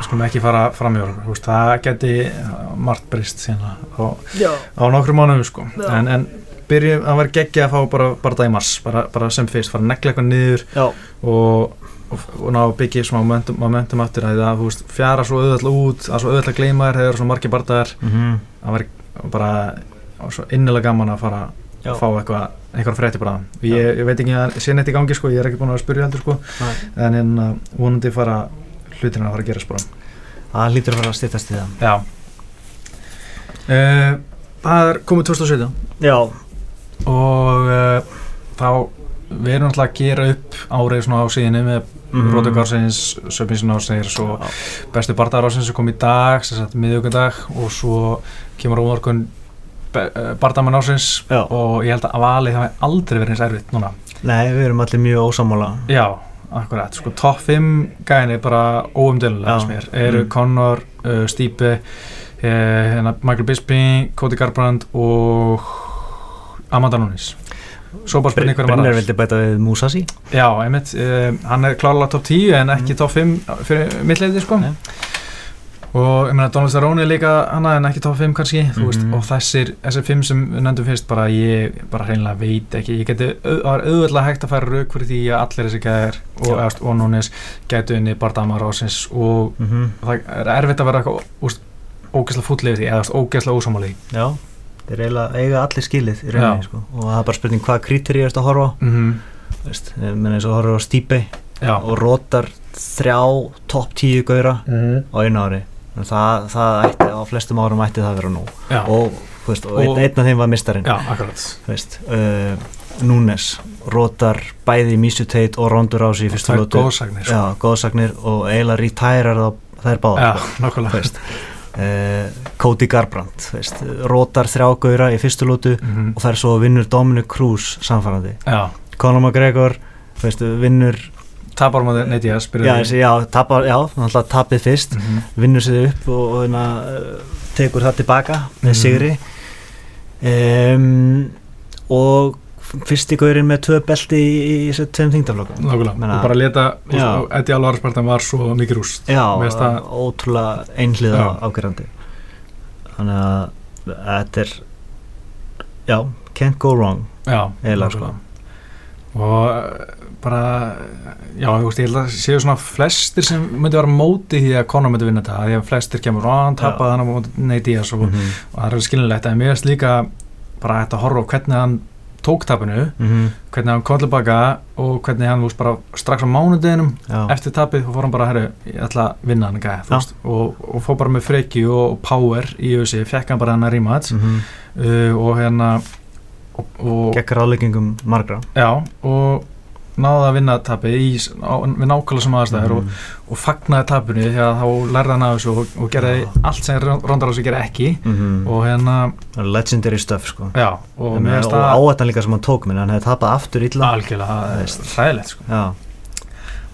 Speaker 1: skulum ekki fara fram í orð, þú veist, það geti uh, margt breyst sína á, á nokkrum mánuðum sko
Speaker 2: Já.
Speaker 1: en, en byrjum að vera geggja að fá bara, bara dag í mars, bara, bara sem fyrst fara að negla eitthvað niður
Speaker 2: Já,
Speaker 1: og, og, og ná að byggja smá momentum, momentum aftur að það, þú veist, fjara svo auðvitað út að svo auðvitað gleyma þér, hefur svo margir bardaðar
Speaker 2: mhm,
Speaker 1: að vera bara svo innilega gaman að fara
Speaker 2: já,
Speaker 1: að fá eitthvað, eitthvað frétti bara og ég, ég veit ekki að sé neitt í gangi sko, ég er ekki búin að spyrja heldur sko,
Speaker 2: Nei.
Speaker 1: en en uh, vonandi fara hlutina að fara að gera spora
Speaker 2: það hlýtur að fara að stýttast í það.
Speaker 1: Já uh, Það er komið 2017
Speaker 2: Já,
Speaker 1: og uh, þá við erum alltaf að gera upp árið svona á síðinu með mm.
Speaker 2: Mhm.
Speaker 1: Rótugársins, Söpinsin ársins og
Speaker 2: Já.
Speaker 1: bestu bardarársins sem kom í dag, sem sagt miðjögundag og svo kemur á morgun eh, bardamann ársins
Speaker 2: Já.
Speaker 1: og ég held að valið það hafi aldrei verið eins erfitt núna.
Speaker 2: nei, við erum allir mjög ósamála.
Speaker 1: Já, akkurat, sko topp 5 gæðin er bara óumdölulega
Speaker 2: Já.
Speaker 1: sem er, eru
Speaker 2: Mm.
Speaker 1: Connor, uh, Stípe uh, hérna, Michael Bisping, Cody Garbrandt og Amanda Nunes Svo bara spurning hvernig
Speaker 2: Brynjar
Speaker 1: var það
Speaker 2: vildi bæta við Musasi.
Speaker 1: Já, einmitt, um, hann er klárlega topp 10 en ekki topp 5 fyrir mittleiti sko
Speaker 2: Mm. Nei.
Speaker 1: Og ég meina Donald Cerrone er líka hana en ekki topp 5 kannski, þú veist,
Speaker 2: Mhm.
Speaker 1: og þessir, þessir 5 sem við nefndum fyrst bara ég bara hreinlega veit ekki, ég geti, au- það er auðvitað hægt að færa rauk fyrir því að allir þessi gæðir og,
Speaker 2: Já.
Speaker 1: eðast, og núnis gætu unni bardama rásins og
Speaker 2: Mhm,
Speaker 1: það er erfitt að vera eitthvað ó- úst, ógeðslega fúll yfir því, eða þú veist, ógeðslega ósamáli
Speaker 2: já. Þeir eiginlega eiga allir skilið í
Speaker 1: Já.
Speaker 2: rauninni, sko. Og það er bara spurning hvað krítur ég erst að horfa á.
Speaker 1: mm -hmm.
Speaker 2: Þú Veist, ég menn eins og horfa á Stípe
Speaker 1: Já,
Speaker 2: Mhm. og rótar þrjá topp tíu gauðra
Speaker 1: mm.
Speaker 2: á einu ári En það, það ætti, á flestum árum ætti það að vera nóg
Speaker 1: já,
Speaker 2: og, þú veist, og
Speaker 1: Og-
Speaker 2: einn, einn af þeim var mistarinn
Speaker 1: já, akkurat
Speaker 2: Þú veist, uh, Núnes rótar bæði í Misu Tate og Rondur á sig í fyrstu
Speaker 1: Það er
Speaker 2: lótu
Speaker 1: góðsagnir sko.
Speaker 2: já, góðsagnir og eiginlega retirar það þær báða
Speaker 1: Já, nokkulega
Speaker 2: uh, Cody Garbrandt þú veist, rótar þrjá gauðra í fyrstu lótu
Speaker 1: Mhm.
Speaker 2: og fær svo og vinnur Dominic Cruz samfærandi
Speaker 1: Já,
Speaker 2: Conor McGregor þú veist, vinnur
Speaker 1: tapar maður neitt ég að
Speaker 2: já,
Speaker 1: spyrja
Speaker 2: þessi- já, tapar, já, náttúrulega tapið fyrst
Speaker 1: Mhm.
Speaker 2: vinnur sér upp og, og na, tekur það tilbaka
Speaker 1: Mhm.
Speaker 2: með sigri um, og fyrsti gaurinn með tvö belti í, í þessu tveim þingdaflokkum
Speaker 1: Nákvæmlega,
Speaker 2: Meina-
Speaker 1: og bara leta
Speaker 2: Já.
Speaker 1: Eti Alvar Spartan var svo mikið rúst
Speaker 2: já,
Speaker 1: Mér finnst það-
Speaker 2: ótrúlega einhliða
Speaker 1: eh, Já.
Speaker 2: ágerandi þannig að þetta er já, can't go wrong
Speaker 1: Já,
Speaker 2: Eiginlega,
Speaker 1: nákvæmlega. Og eh, bara, já, þú veist, ég held að séu svona flestir sem myndi vera á móti því að Conor myndi vinna þetta af Því að flestir kemur og hann tapaði hann á móti Nate Diaz og,
Speaker 2: mhm,
Speaker 1: og það er alveg skiljanlegt En mér finnst líka bara þetta að horfa á hvernig hann tók tapinu
Speaker 2: mhm,
Speaker 1: Hvernig hann kom tilbaka og hvernig hann, þú veist, bara strax á mánudeginum
Speaker 2: já,
Speaker 1: eftir tapið þá fór hann bara herru, ég ætla að vinna hann gæja, þú
Speaker 2: Já.
Speaker 1: veist, og, og fór bara með freki og, og power í ösi, fekk hann bara hann að rýma þetta
Speaker 2: mhm,
Speaker 1: uh, og hérna og, og
Speaker 2: gegn ráðleggingum margra
Speaker 1: já, og náði að vinna tapið í, s- á, við nákvæmlega sem aðstæður
Speaker 2: Mhm.
Speaker 1: og, og fagnaði tapinu því að þá lærði hann af þessu og, og gerði
Speaker 2: Já.
Speaker 1: allt sem Rondar þessu gerði ekki
Speaker 2: Mhm.
Speaker 1: og hérna,
Speaker 2: legendary stuff sko
Speaker 1: já, og
Speaker 2: og,
Speaker 1: mér
Speaker 2: og
Speaker 1: finnst það Ah.
Speaker 2: áættan líka sem hann tók minn hann hefði tapað aftur illa
Speaker 1: algjörlega, það er hræðilegt sko.
Speaker 2: já,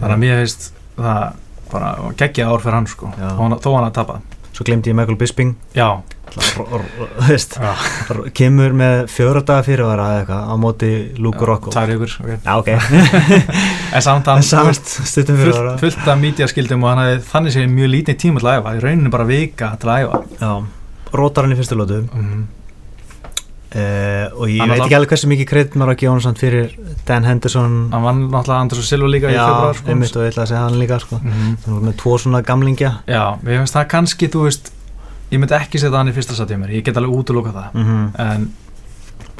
Speaker 1: þannig að mér finnst það bara geggja ár fyrir hann sko
Speaker 2: Já.
Speaker 1: þó hann, þó hann að tapa
Speaker 2: svo glemdi ég Michael Bisping
Speaker 1: já,
Speaker 2: Ro- ro- ro- veist,
Speaker 1: Já.
Speaker 2: ro- kemur með fjóra daga fyrirvara eða eitthvað á móti Luke Rocco
Speaker 1: tær ykkur okay.
Speaker 2: já
Speaker 1: [LAUGHS]
Speaker 2: ok,
Speaker 1: en samt
Speaker 2: en
Speaker 1: hann
Speaker 2: samast stuttum fyrirvara
Speaker 1: fullt, fullt af mítjaskildum og hann hefði þannig séð mjög lítið tíma til að æfa, í rauninu bara vika til að æfa
Speaker 2: já, rótar hann í fyrstu lótu
Speaker 1: mm.
Speaker 2: Uh, og ég
Speaker 1: Hann
Speaker 2: veit
Speaker 1: alltaf-
Speaker 2: ekki alveg hversu mikið kreit maður á að gefa hann samt fyrir Dan Henderson
Speaker 1: hann vann náttúrulega Andrés og Silva líka í
Speaker 2: já,
Speaker 1: februar sko
Speaker 2: einmitt og ég ætla að segja hann líka sko.
Speaker 1: Mhm.
Speaker 2: hann var með tvo svona gamlingja
Speaker 1: já, mér finnst það kannski, þú veist ég myndi ekki setja hann í fyrsta satið mér, ég get alveg út að lóka það
Speaker 2: mm -hmm.
Speaker 1: en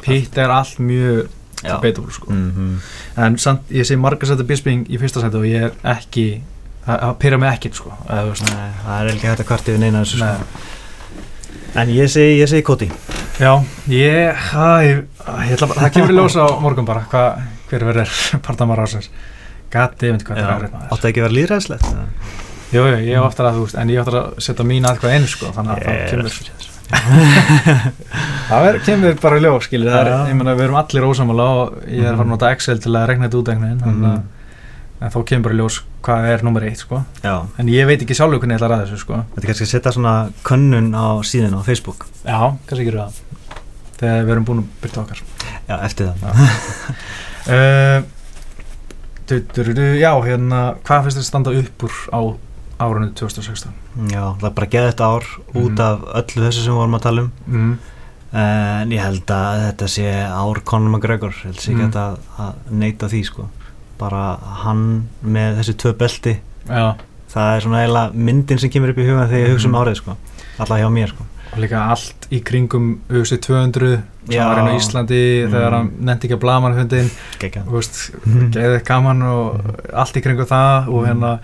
Speaker 1: hitt er allt mjög debatable sko
Speaker 2: mm
Speaker 1: en samt, ég sé margar sæti Bisping í fyrsta sæti og ég er ekki það það pyrra mig ekkert sko eða, þú veist,
Speaker 2: Nei, það er ekki hægt að kvarti við neina þessu sko.
Speaker 1: nei.
Speaker 2: en ég segi, ég segi Koti
Speaker 1: já, ég, hæ, ég, ég ætla, bara- það kemur í ljós á morgun bara hva, hver verður partamar ásins gati, veit hvað þetta er árið maður
Speaker 2: áttu ekki að vera líðræðslegt
Speaker 1: [LAUGHS] jú, jú, ég á aftur að þú veist, en ég á aftur að setja mín aðkvað einu sko, þannig að það kemur það er, kemur bara í ljós, skilur, það
Speaker 2: Já.
Speaker 1: er, ég meina við erum allir ósamála og ég er farin að nota Excel til að regna þetta út einhvern veginn, þannig
Speaker 2: Mhm.
Speaker 1: að en þá kemur bara í ljós hvað er nummer eitt sko
Speaker 2: já,
Speaker 1: en ég veit ekki sjálfur hvernig ég ætla að ræða þessu sko
Speaker 2: þetta er kannski að setja svona könnun á síðan á Facebook
Speaker 1: Já, kannski gerum við það þegar við erum búin að byrta okkar
Speaker 2: já, eftir það
Speaker 1: uh, du, du, du, du, Já, hérna hvað finnst þér standa upp úr á árunni 2016?
Speaker 2: já, það er bara geða þetta ár út
Speaker 1: Mhm.
Speaker 2: af öllu þessu sem við vorum að tala um
Speaker 1: Mm.
Speaker 2: En ég held að þetta sé ár Conor McGregor, ég held sé ekki
Speaker 1: Mm.
Speaker 2: hægt að, að neyta því sko. Bara hann með þessi tvö belti,
Speaker 1: Já,
Speaker 2: það er svona eiginlega myndin sem kemur upp í hugan þegar ég hugsa um
Speaker 1: Mhm.
Speaker 2: árið sko. Alla hjá mér sko.
Speaker 1: og líka allt í kringum UFC 200 sem
Speaker 2: Já.
Speaker 1: var inn á Íslandi þegar hann nefndi ekki að blaman hundin
Speaker 2: Gekka. Mhm.
Speaker 1: geðið gaman og allt í kringum það og hérna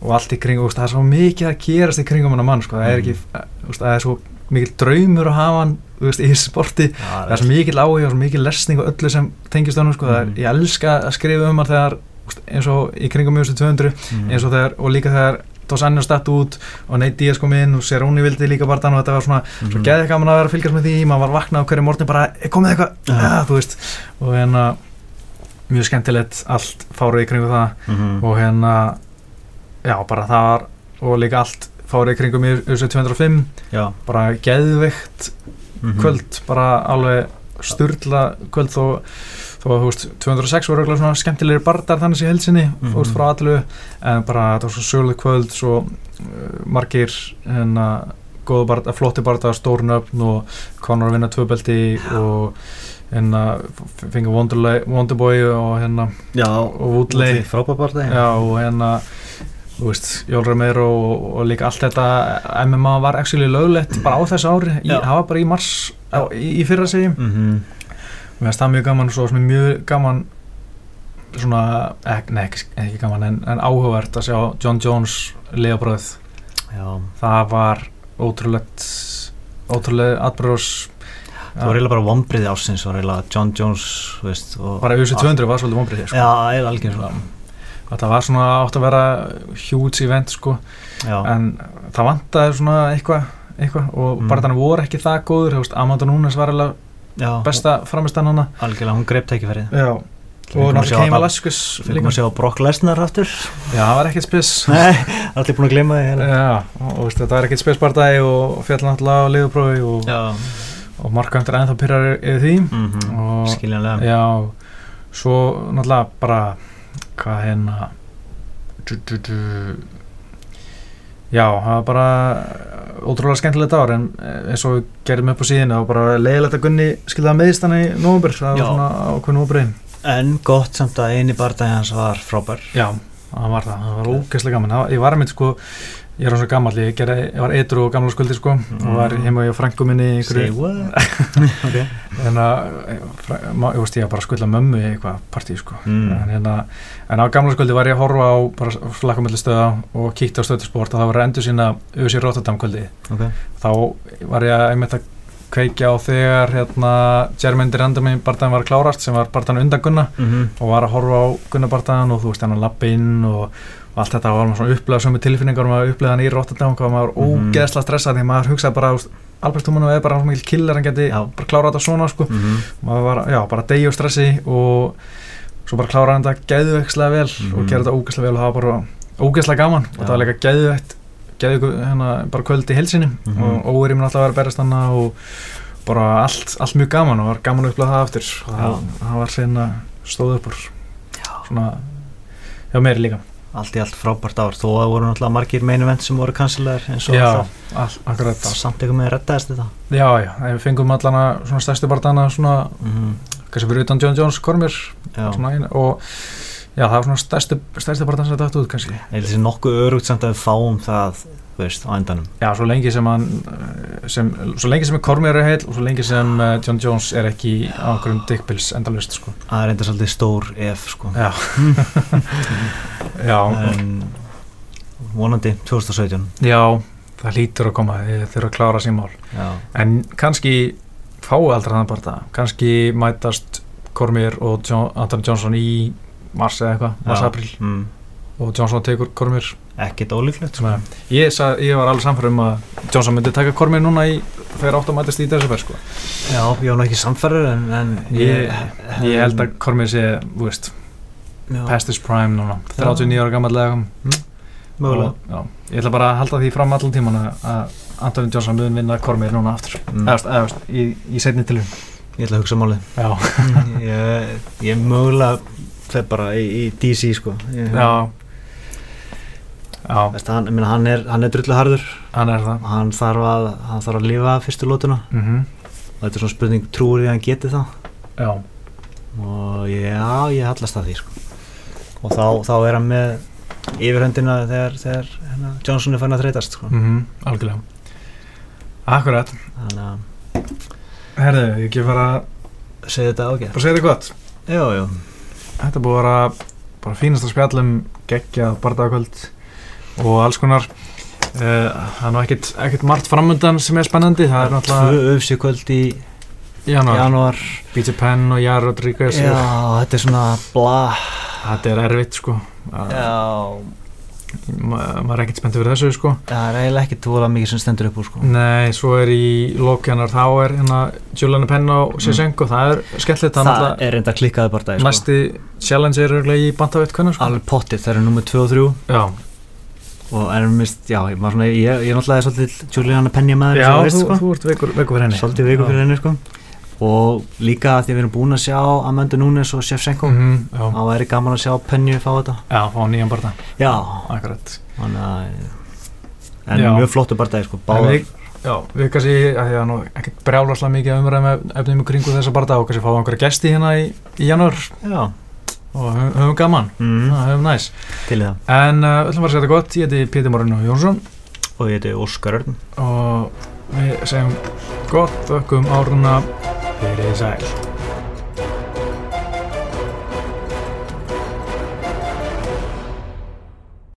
Speaker 1: og allt í kringum, þú veist, það er svo mikið að gerast í kringum hann að mann, sko, það er ekki þú veist, það er svo mikil draumur að hafa hann þú veist, í þessu sporti það er svo mikil áhuga og svo mikil lesning og öllu sem tengist honum sko, það er,
Speaker 2: Mhm.
Speaker 1: ég elska að skrifa um hann þegar úst, eins og í kringum mjög 200
Speaker 2: Mm. Mhm.
Speaker 1: eins og þegar, og líka þegar Dos Anjos datt út og Nate Diaz kom inn og Seroni vildi líka bara þannig og þetta var svona svo
Speaker 2: Mhm.
Speaker 1: geðið gaman að vera að fylgjast með því maður var vaknað á hverju morgni bara, "Er komið eitthvað
Speaker 2: Já.
Speaker 1: ah, þú veist, og hérna mjög skemmtilegt allt fárið í kringum það
Speaker 2: Mhm. Mm.
Speaker 1: og hérna já, bara það var og líka allt fárið í kringum í 205
Speaker 2: Já.
Speaker 1: bara geðveikt
Speaker 2: Mm
Speaker 1: kvöld, bara alveg sturla kvöld þó, þó að þú veist 206 voru eitthvað svona skemmtilegir bardar þannig sem ég held sinni,
Speaker 2: Mhm.
Speaker 1: þú veist frá allu en bara þetta var svo söguleg kvöld svo uh, margir hérna eh, góða barða, flotti barða, stórnöfn og Conor að vinna tvöbeldi og hérna fengið Wonderboy og hérna
Speaker 2: Já.
Speaker 1: og Woodley
Speaker 2: Frábabart
Speaker 1: já, og hérna þú veist, Jól Romero og, og líka allt þetta MMA var actually löglegt bara á þessu ári, í,
Speaker 2: Já.
Speaker 1: það var bara í mars á, í, í fyrra segi,
Speaker 2: Mhm.
Speaker 1: mér finnst það mjög gaman og svo sem er mjög gaman svona, ek, nei ekki, ekki gaman en, en áhugavert að sjá John Jones lefabröð,
Speaker 2: Já.
Speaker 1: það var ótrúlegt ótrúlega atbröðs
Speaker 2: Það var eiginlega bara vombriði ásins, það var eiginlega John Jones, þú veist. og-
Speaker 1: bara USA 200 var svolítið vombrið sko.
Speaker 2: Já, eiginlega algjör svona.
Speaker 1: þetta var svona átt að vera huge event sko
Speaker 2: Já.
Speaker 1: en það vantaði svona eitthvað eitthva, og
Speaker 2: Mm.
Speaker 1: mm. barðan voru ekki það góður þú veist, Amanda Nunes var alveg
Speaker 2: Já.
Speaker 1: besta framistan hana
Speaker 2: Algjörlega, hún greip tækifærið.
Speaker 1: já. og
Speaker 2: Fengum að sjá
Speaker 1: náttúrulega Keima
Speaker 2: þetta-
Speaker 1: Laskus
Speaker 2: Fylgum að
Speaker 1: já,
Speaker 2: sjá Brock Lesnar aftur.
Speaker 1: það var ekkert spes
Speaker 2: Nei, allir búin að gleyma því hérna.
Speaker 1: Já, og og veist, þetta var ekkert spesbardagi og fjall náttúrulega á liðuprófi og,
Speaker 2: Já,
Speaker 1: og markandur ennþá pyrrar yfir því
Speaker 2: mm
Speaker 1: Og-
Speaker 2: skiljanlega
Speaker 1: já, svo náttúrulega bara hvað hérna du, du, du, já, það var bara ótrúlega skemmtilegt ár en eh, eins og við gerðum upp á síðinu það var bara leiðilegt að Gunni skilða meðist hann í nóvumber, það
Speaker 2: Já.
Speaker 1: var svona ákveðin óbreið
Speaker 2: En gott samt að eini bardagi hans var frábær
Speaker 1: já, það var það, það var ógeðslega gaman það, ég var einmitt sko, ég er svona gammal ég, gerði, ég var eitru og gamla skuldi sko og var heima í frængu minni í einhverju-
Speaker 2: Say what? okay.
Speaker 1: hérna, fra- ma- ég veist ég að bara skulda mömmu í eitthvað partí sko
Speaker 2: Mm.
Speaker 1: en, hérna, en á gamla skuldi var ég að horfa á bara flakkamöllistöða og kíkti á stöðtisport og það var endur sína Ösi Rotterdam kvöldi
Speaker 2: ok
Speaker 1: þá var ég að einmitt að kveikja á þegar hérna Jermaine Durandami barðan var að klárast sem var barðan undan Gunna
Speaker 2: Mhm,
Speaker 1: og var að horfa á Gunna barðan og þú veist hann lapp inn og og allt þetta var maður svona upplega sömu tilfinningar og maður upplega hann í Rotterdam hvað maður mm
Speaker 2: Mhm.
Speaker 1: ógeðsla stressað því maður hugsaði bara þú veist, Albert Tómanum er bara hans mikil killar hann geti
Speaker 2: Já.
Speaker 1: bara klárað þetta svona sko
Speaker 2: Mhm.
Speaker 1: maður var, já, bara degi og stressi og svo bara kláraði hann þetta geðvekslega vel og
Speaker 2: Mhm.
Speaker 1: gera þetta ógeðslega vel og það var bara ógeðslega gaman og það
Speaker 2: Já.
Speaker 1: var líka geðvegt geðveiku hérna bara kvöld í helsinni
Speaker 2: Mhm.
Speaker 1: og óverið minn alltaf að vera að berast hana og bara allt, allt mjög gaman og var gaman að upplega það aftur og það, það var sérna stóð upp úr svona já meiri líka
Speaker 2: allt í allt frábært ár þó að voru náttúrulega margir main event sem voru kansilegar eins og
Speaker 1: já,
Speaker 2: alltaf
Speaker 1: all, akkurat
Speaker 2: þá samt einhvern veginn reddaðist þetta
Speaker 1: já, já, ef við fengum allana svona stærstu barndana svona
Speaker 2: mm,
Speaker 1: kannski fyrir utan John Jones Kormir svona, eina- og já, það var svona stærstu, stærstu barndana sem þetta átt út kannski
Speaker 2: eða þessi nokkuð örugt samt að við fáum það þú veist, á endanum
Speaker 1: Já, svo lengi sem hann eh, sem, svo lengi sem Kormier er heil og svo lengi sem eh, John Jones er ekki á einhverjum dickpills endalust sko.
Speaker 2: það er enda svolítið stór ef sko.
Speaker 1: Já [LAUGHS] Eh. já,
Speaker 2: en vonandi 2017
Speaker 1: já, það lítur að koma þið þurfa að klára sín mál
Speaker 2: já,
Speaker 1: en kannski fáu aldrei þannig bara það kannski mætast Kormier og John, Anton Johnson í mars eða eitthvað,
Speaker 2: Já.
Speaker 1: mars-april
Speaker 2: mm,
Speaker 1: og Johnson tekur Kormier
Speaker 2: ekkit ólíklegt sko.
Speaker 1: Svona, ég, sa, ég var alveg samfærum að Johnson myndi taka Kormier núna í þegar átt að mætast í desember sko.
Speaker 2: já, ég var nú ekki samferður en, en
Speaker 1: ég, ég held að Kormier sé, þú veist
Speaker 2: já,
Speaker 1: past his prime núna, 39 ára gammal eða
Speaker 2: mögulega
Speaker 1: eitthvað ég ætla bara að halda því fram allan tíman að Anthony Johnson mun vinna Kormir núna aftur
Speaker 2: Mm.
Speaker 1: eðast, eðast, í, í setni tilum
Speaker 2: ég ætla að hugsa um málið
Speaker 1: já,
Speaker 2: Mm. [LAUGHS] ég, ég mögulega fer bara í, í DC sko. ég,
Speaker 1: já já,
Speaker 2: Veist, hann, ég meina, hann er, hann er drullu harður
Speaker 1: hann er það
Speaker 2: hann þarf að, hann þarf að lifa af fyrstu lótuna
Speaker 1: mm
Speaker 2: og þetta er svona spurning trúur því að hann geti það
Speaker 1: já,
Speaker 2: og já, ég hallast það því sko. og þá, þá er hann með yfirhöndina þegar, þegar hérna, Johnson er fann að þreytast sko.
Speaker 1: mm algjörlega akkurat,
Speaker 2: þannig að
Speaker 1: herðu, ég ekki fara að
Speaker 2: segja þetta ágæð
Speaker 1: bara segja þér gott
Speaker 2: jú, jú,
Speaker 1: þetta er búið að vera bara fínast að spjallum geggjað bardagakvöld og alls konar uh, það er nú ekkit, ekkit margt framundan sem er spennandi, það er náttúrulega
Speaker 2: tvö öfsíkvöld í
Speaker 1: janúar
Speaker 2: janúar
Speaker 1: Peter Pan og Jara Rodríguez
Speaker 2: já, þetta er svona bla
Speaker 1: þetta er erfitt sko
Speaker 2: já,
Speaker 1: Ma- maður er ekkert spenntið fyrir þessu sko
Speaker 2: það er eiginlega ekki tvolega mikið sem stendur upp úr sko.
Speaker 1: nei, svo er í lókjanar þá er hérna Julian Penn og Sisseng og það er skemmtilegt það er
Speaker 2: Mm. það,
Speaker 1: náttúrulega
Speaker 2: er reynda klikkaði bara dag sko.
Speaker 1: næsti challenge er örugglega í bandaveitt hvernig sko
Speaker 2: alveg pottið, það eru nummið 2 og 3
Speaker 1: já,
Speaker 2: og erum mist, já, ég, var svona, ég, ég er náttúrulega svolítið Juliana Penja með
Speaker 1: já
Speaker 2: þeim sko.
Speaker 1: þú, þú ert veikur, veikur fyrir henni
Speaker 2: svolítið viku
Speaker 1: Já.
Speaker 2: fyrir henni sko. og líka að því að við erum búin að sjá Amanda Nunes og Chef Senko
Speaker 1: Mhm, já,
Speaker 2: þá væri gaman að sjá Penju fá þetta
Speaker 1: já, fá nýjan barða
Speaker 2: já,
Speaker 1: akkurat
Speaker 2: þannig að en
Speaker 1: Já.
Speaker 2: mjög flottu barndæði sko,
Speaker 1: En
Speaker 2: báðar
Speaker 1: við, já, við kannski, að því að nú ekkert brjálaslega mikið umræðum efnum í kringu þessa barða og kannski fáum einhverja gesti hérna í, í janúar
Speaker 2: já,
Speaker 1: og höfum, höfum gaman,
Speaker 2: mm,
Speaker 1: það höfum næs
Speaker 2: til í það
Speaker 1: En uh, öllum var að segja þetta gott, ég heiti Pétur Morinn og Jónsson
Speaker 2: og ég heiti Óskar Örn
Speaker 1: og við segjum gott ökkum áruna fyrir sæl.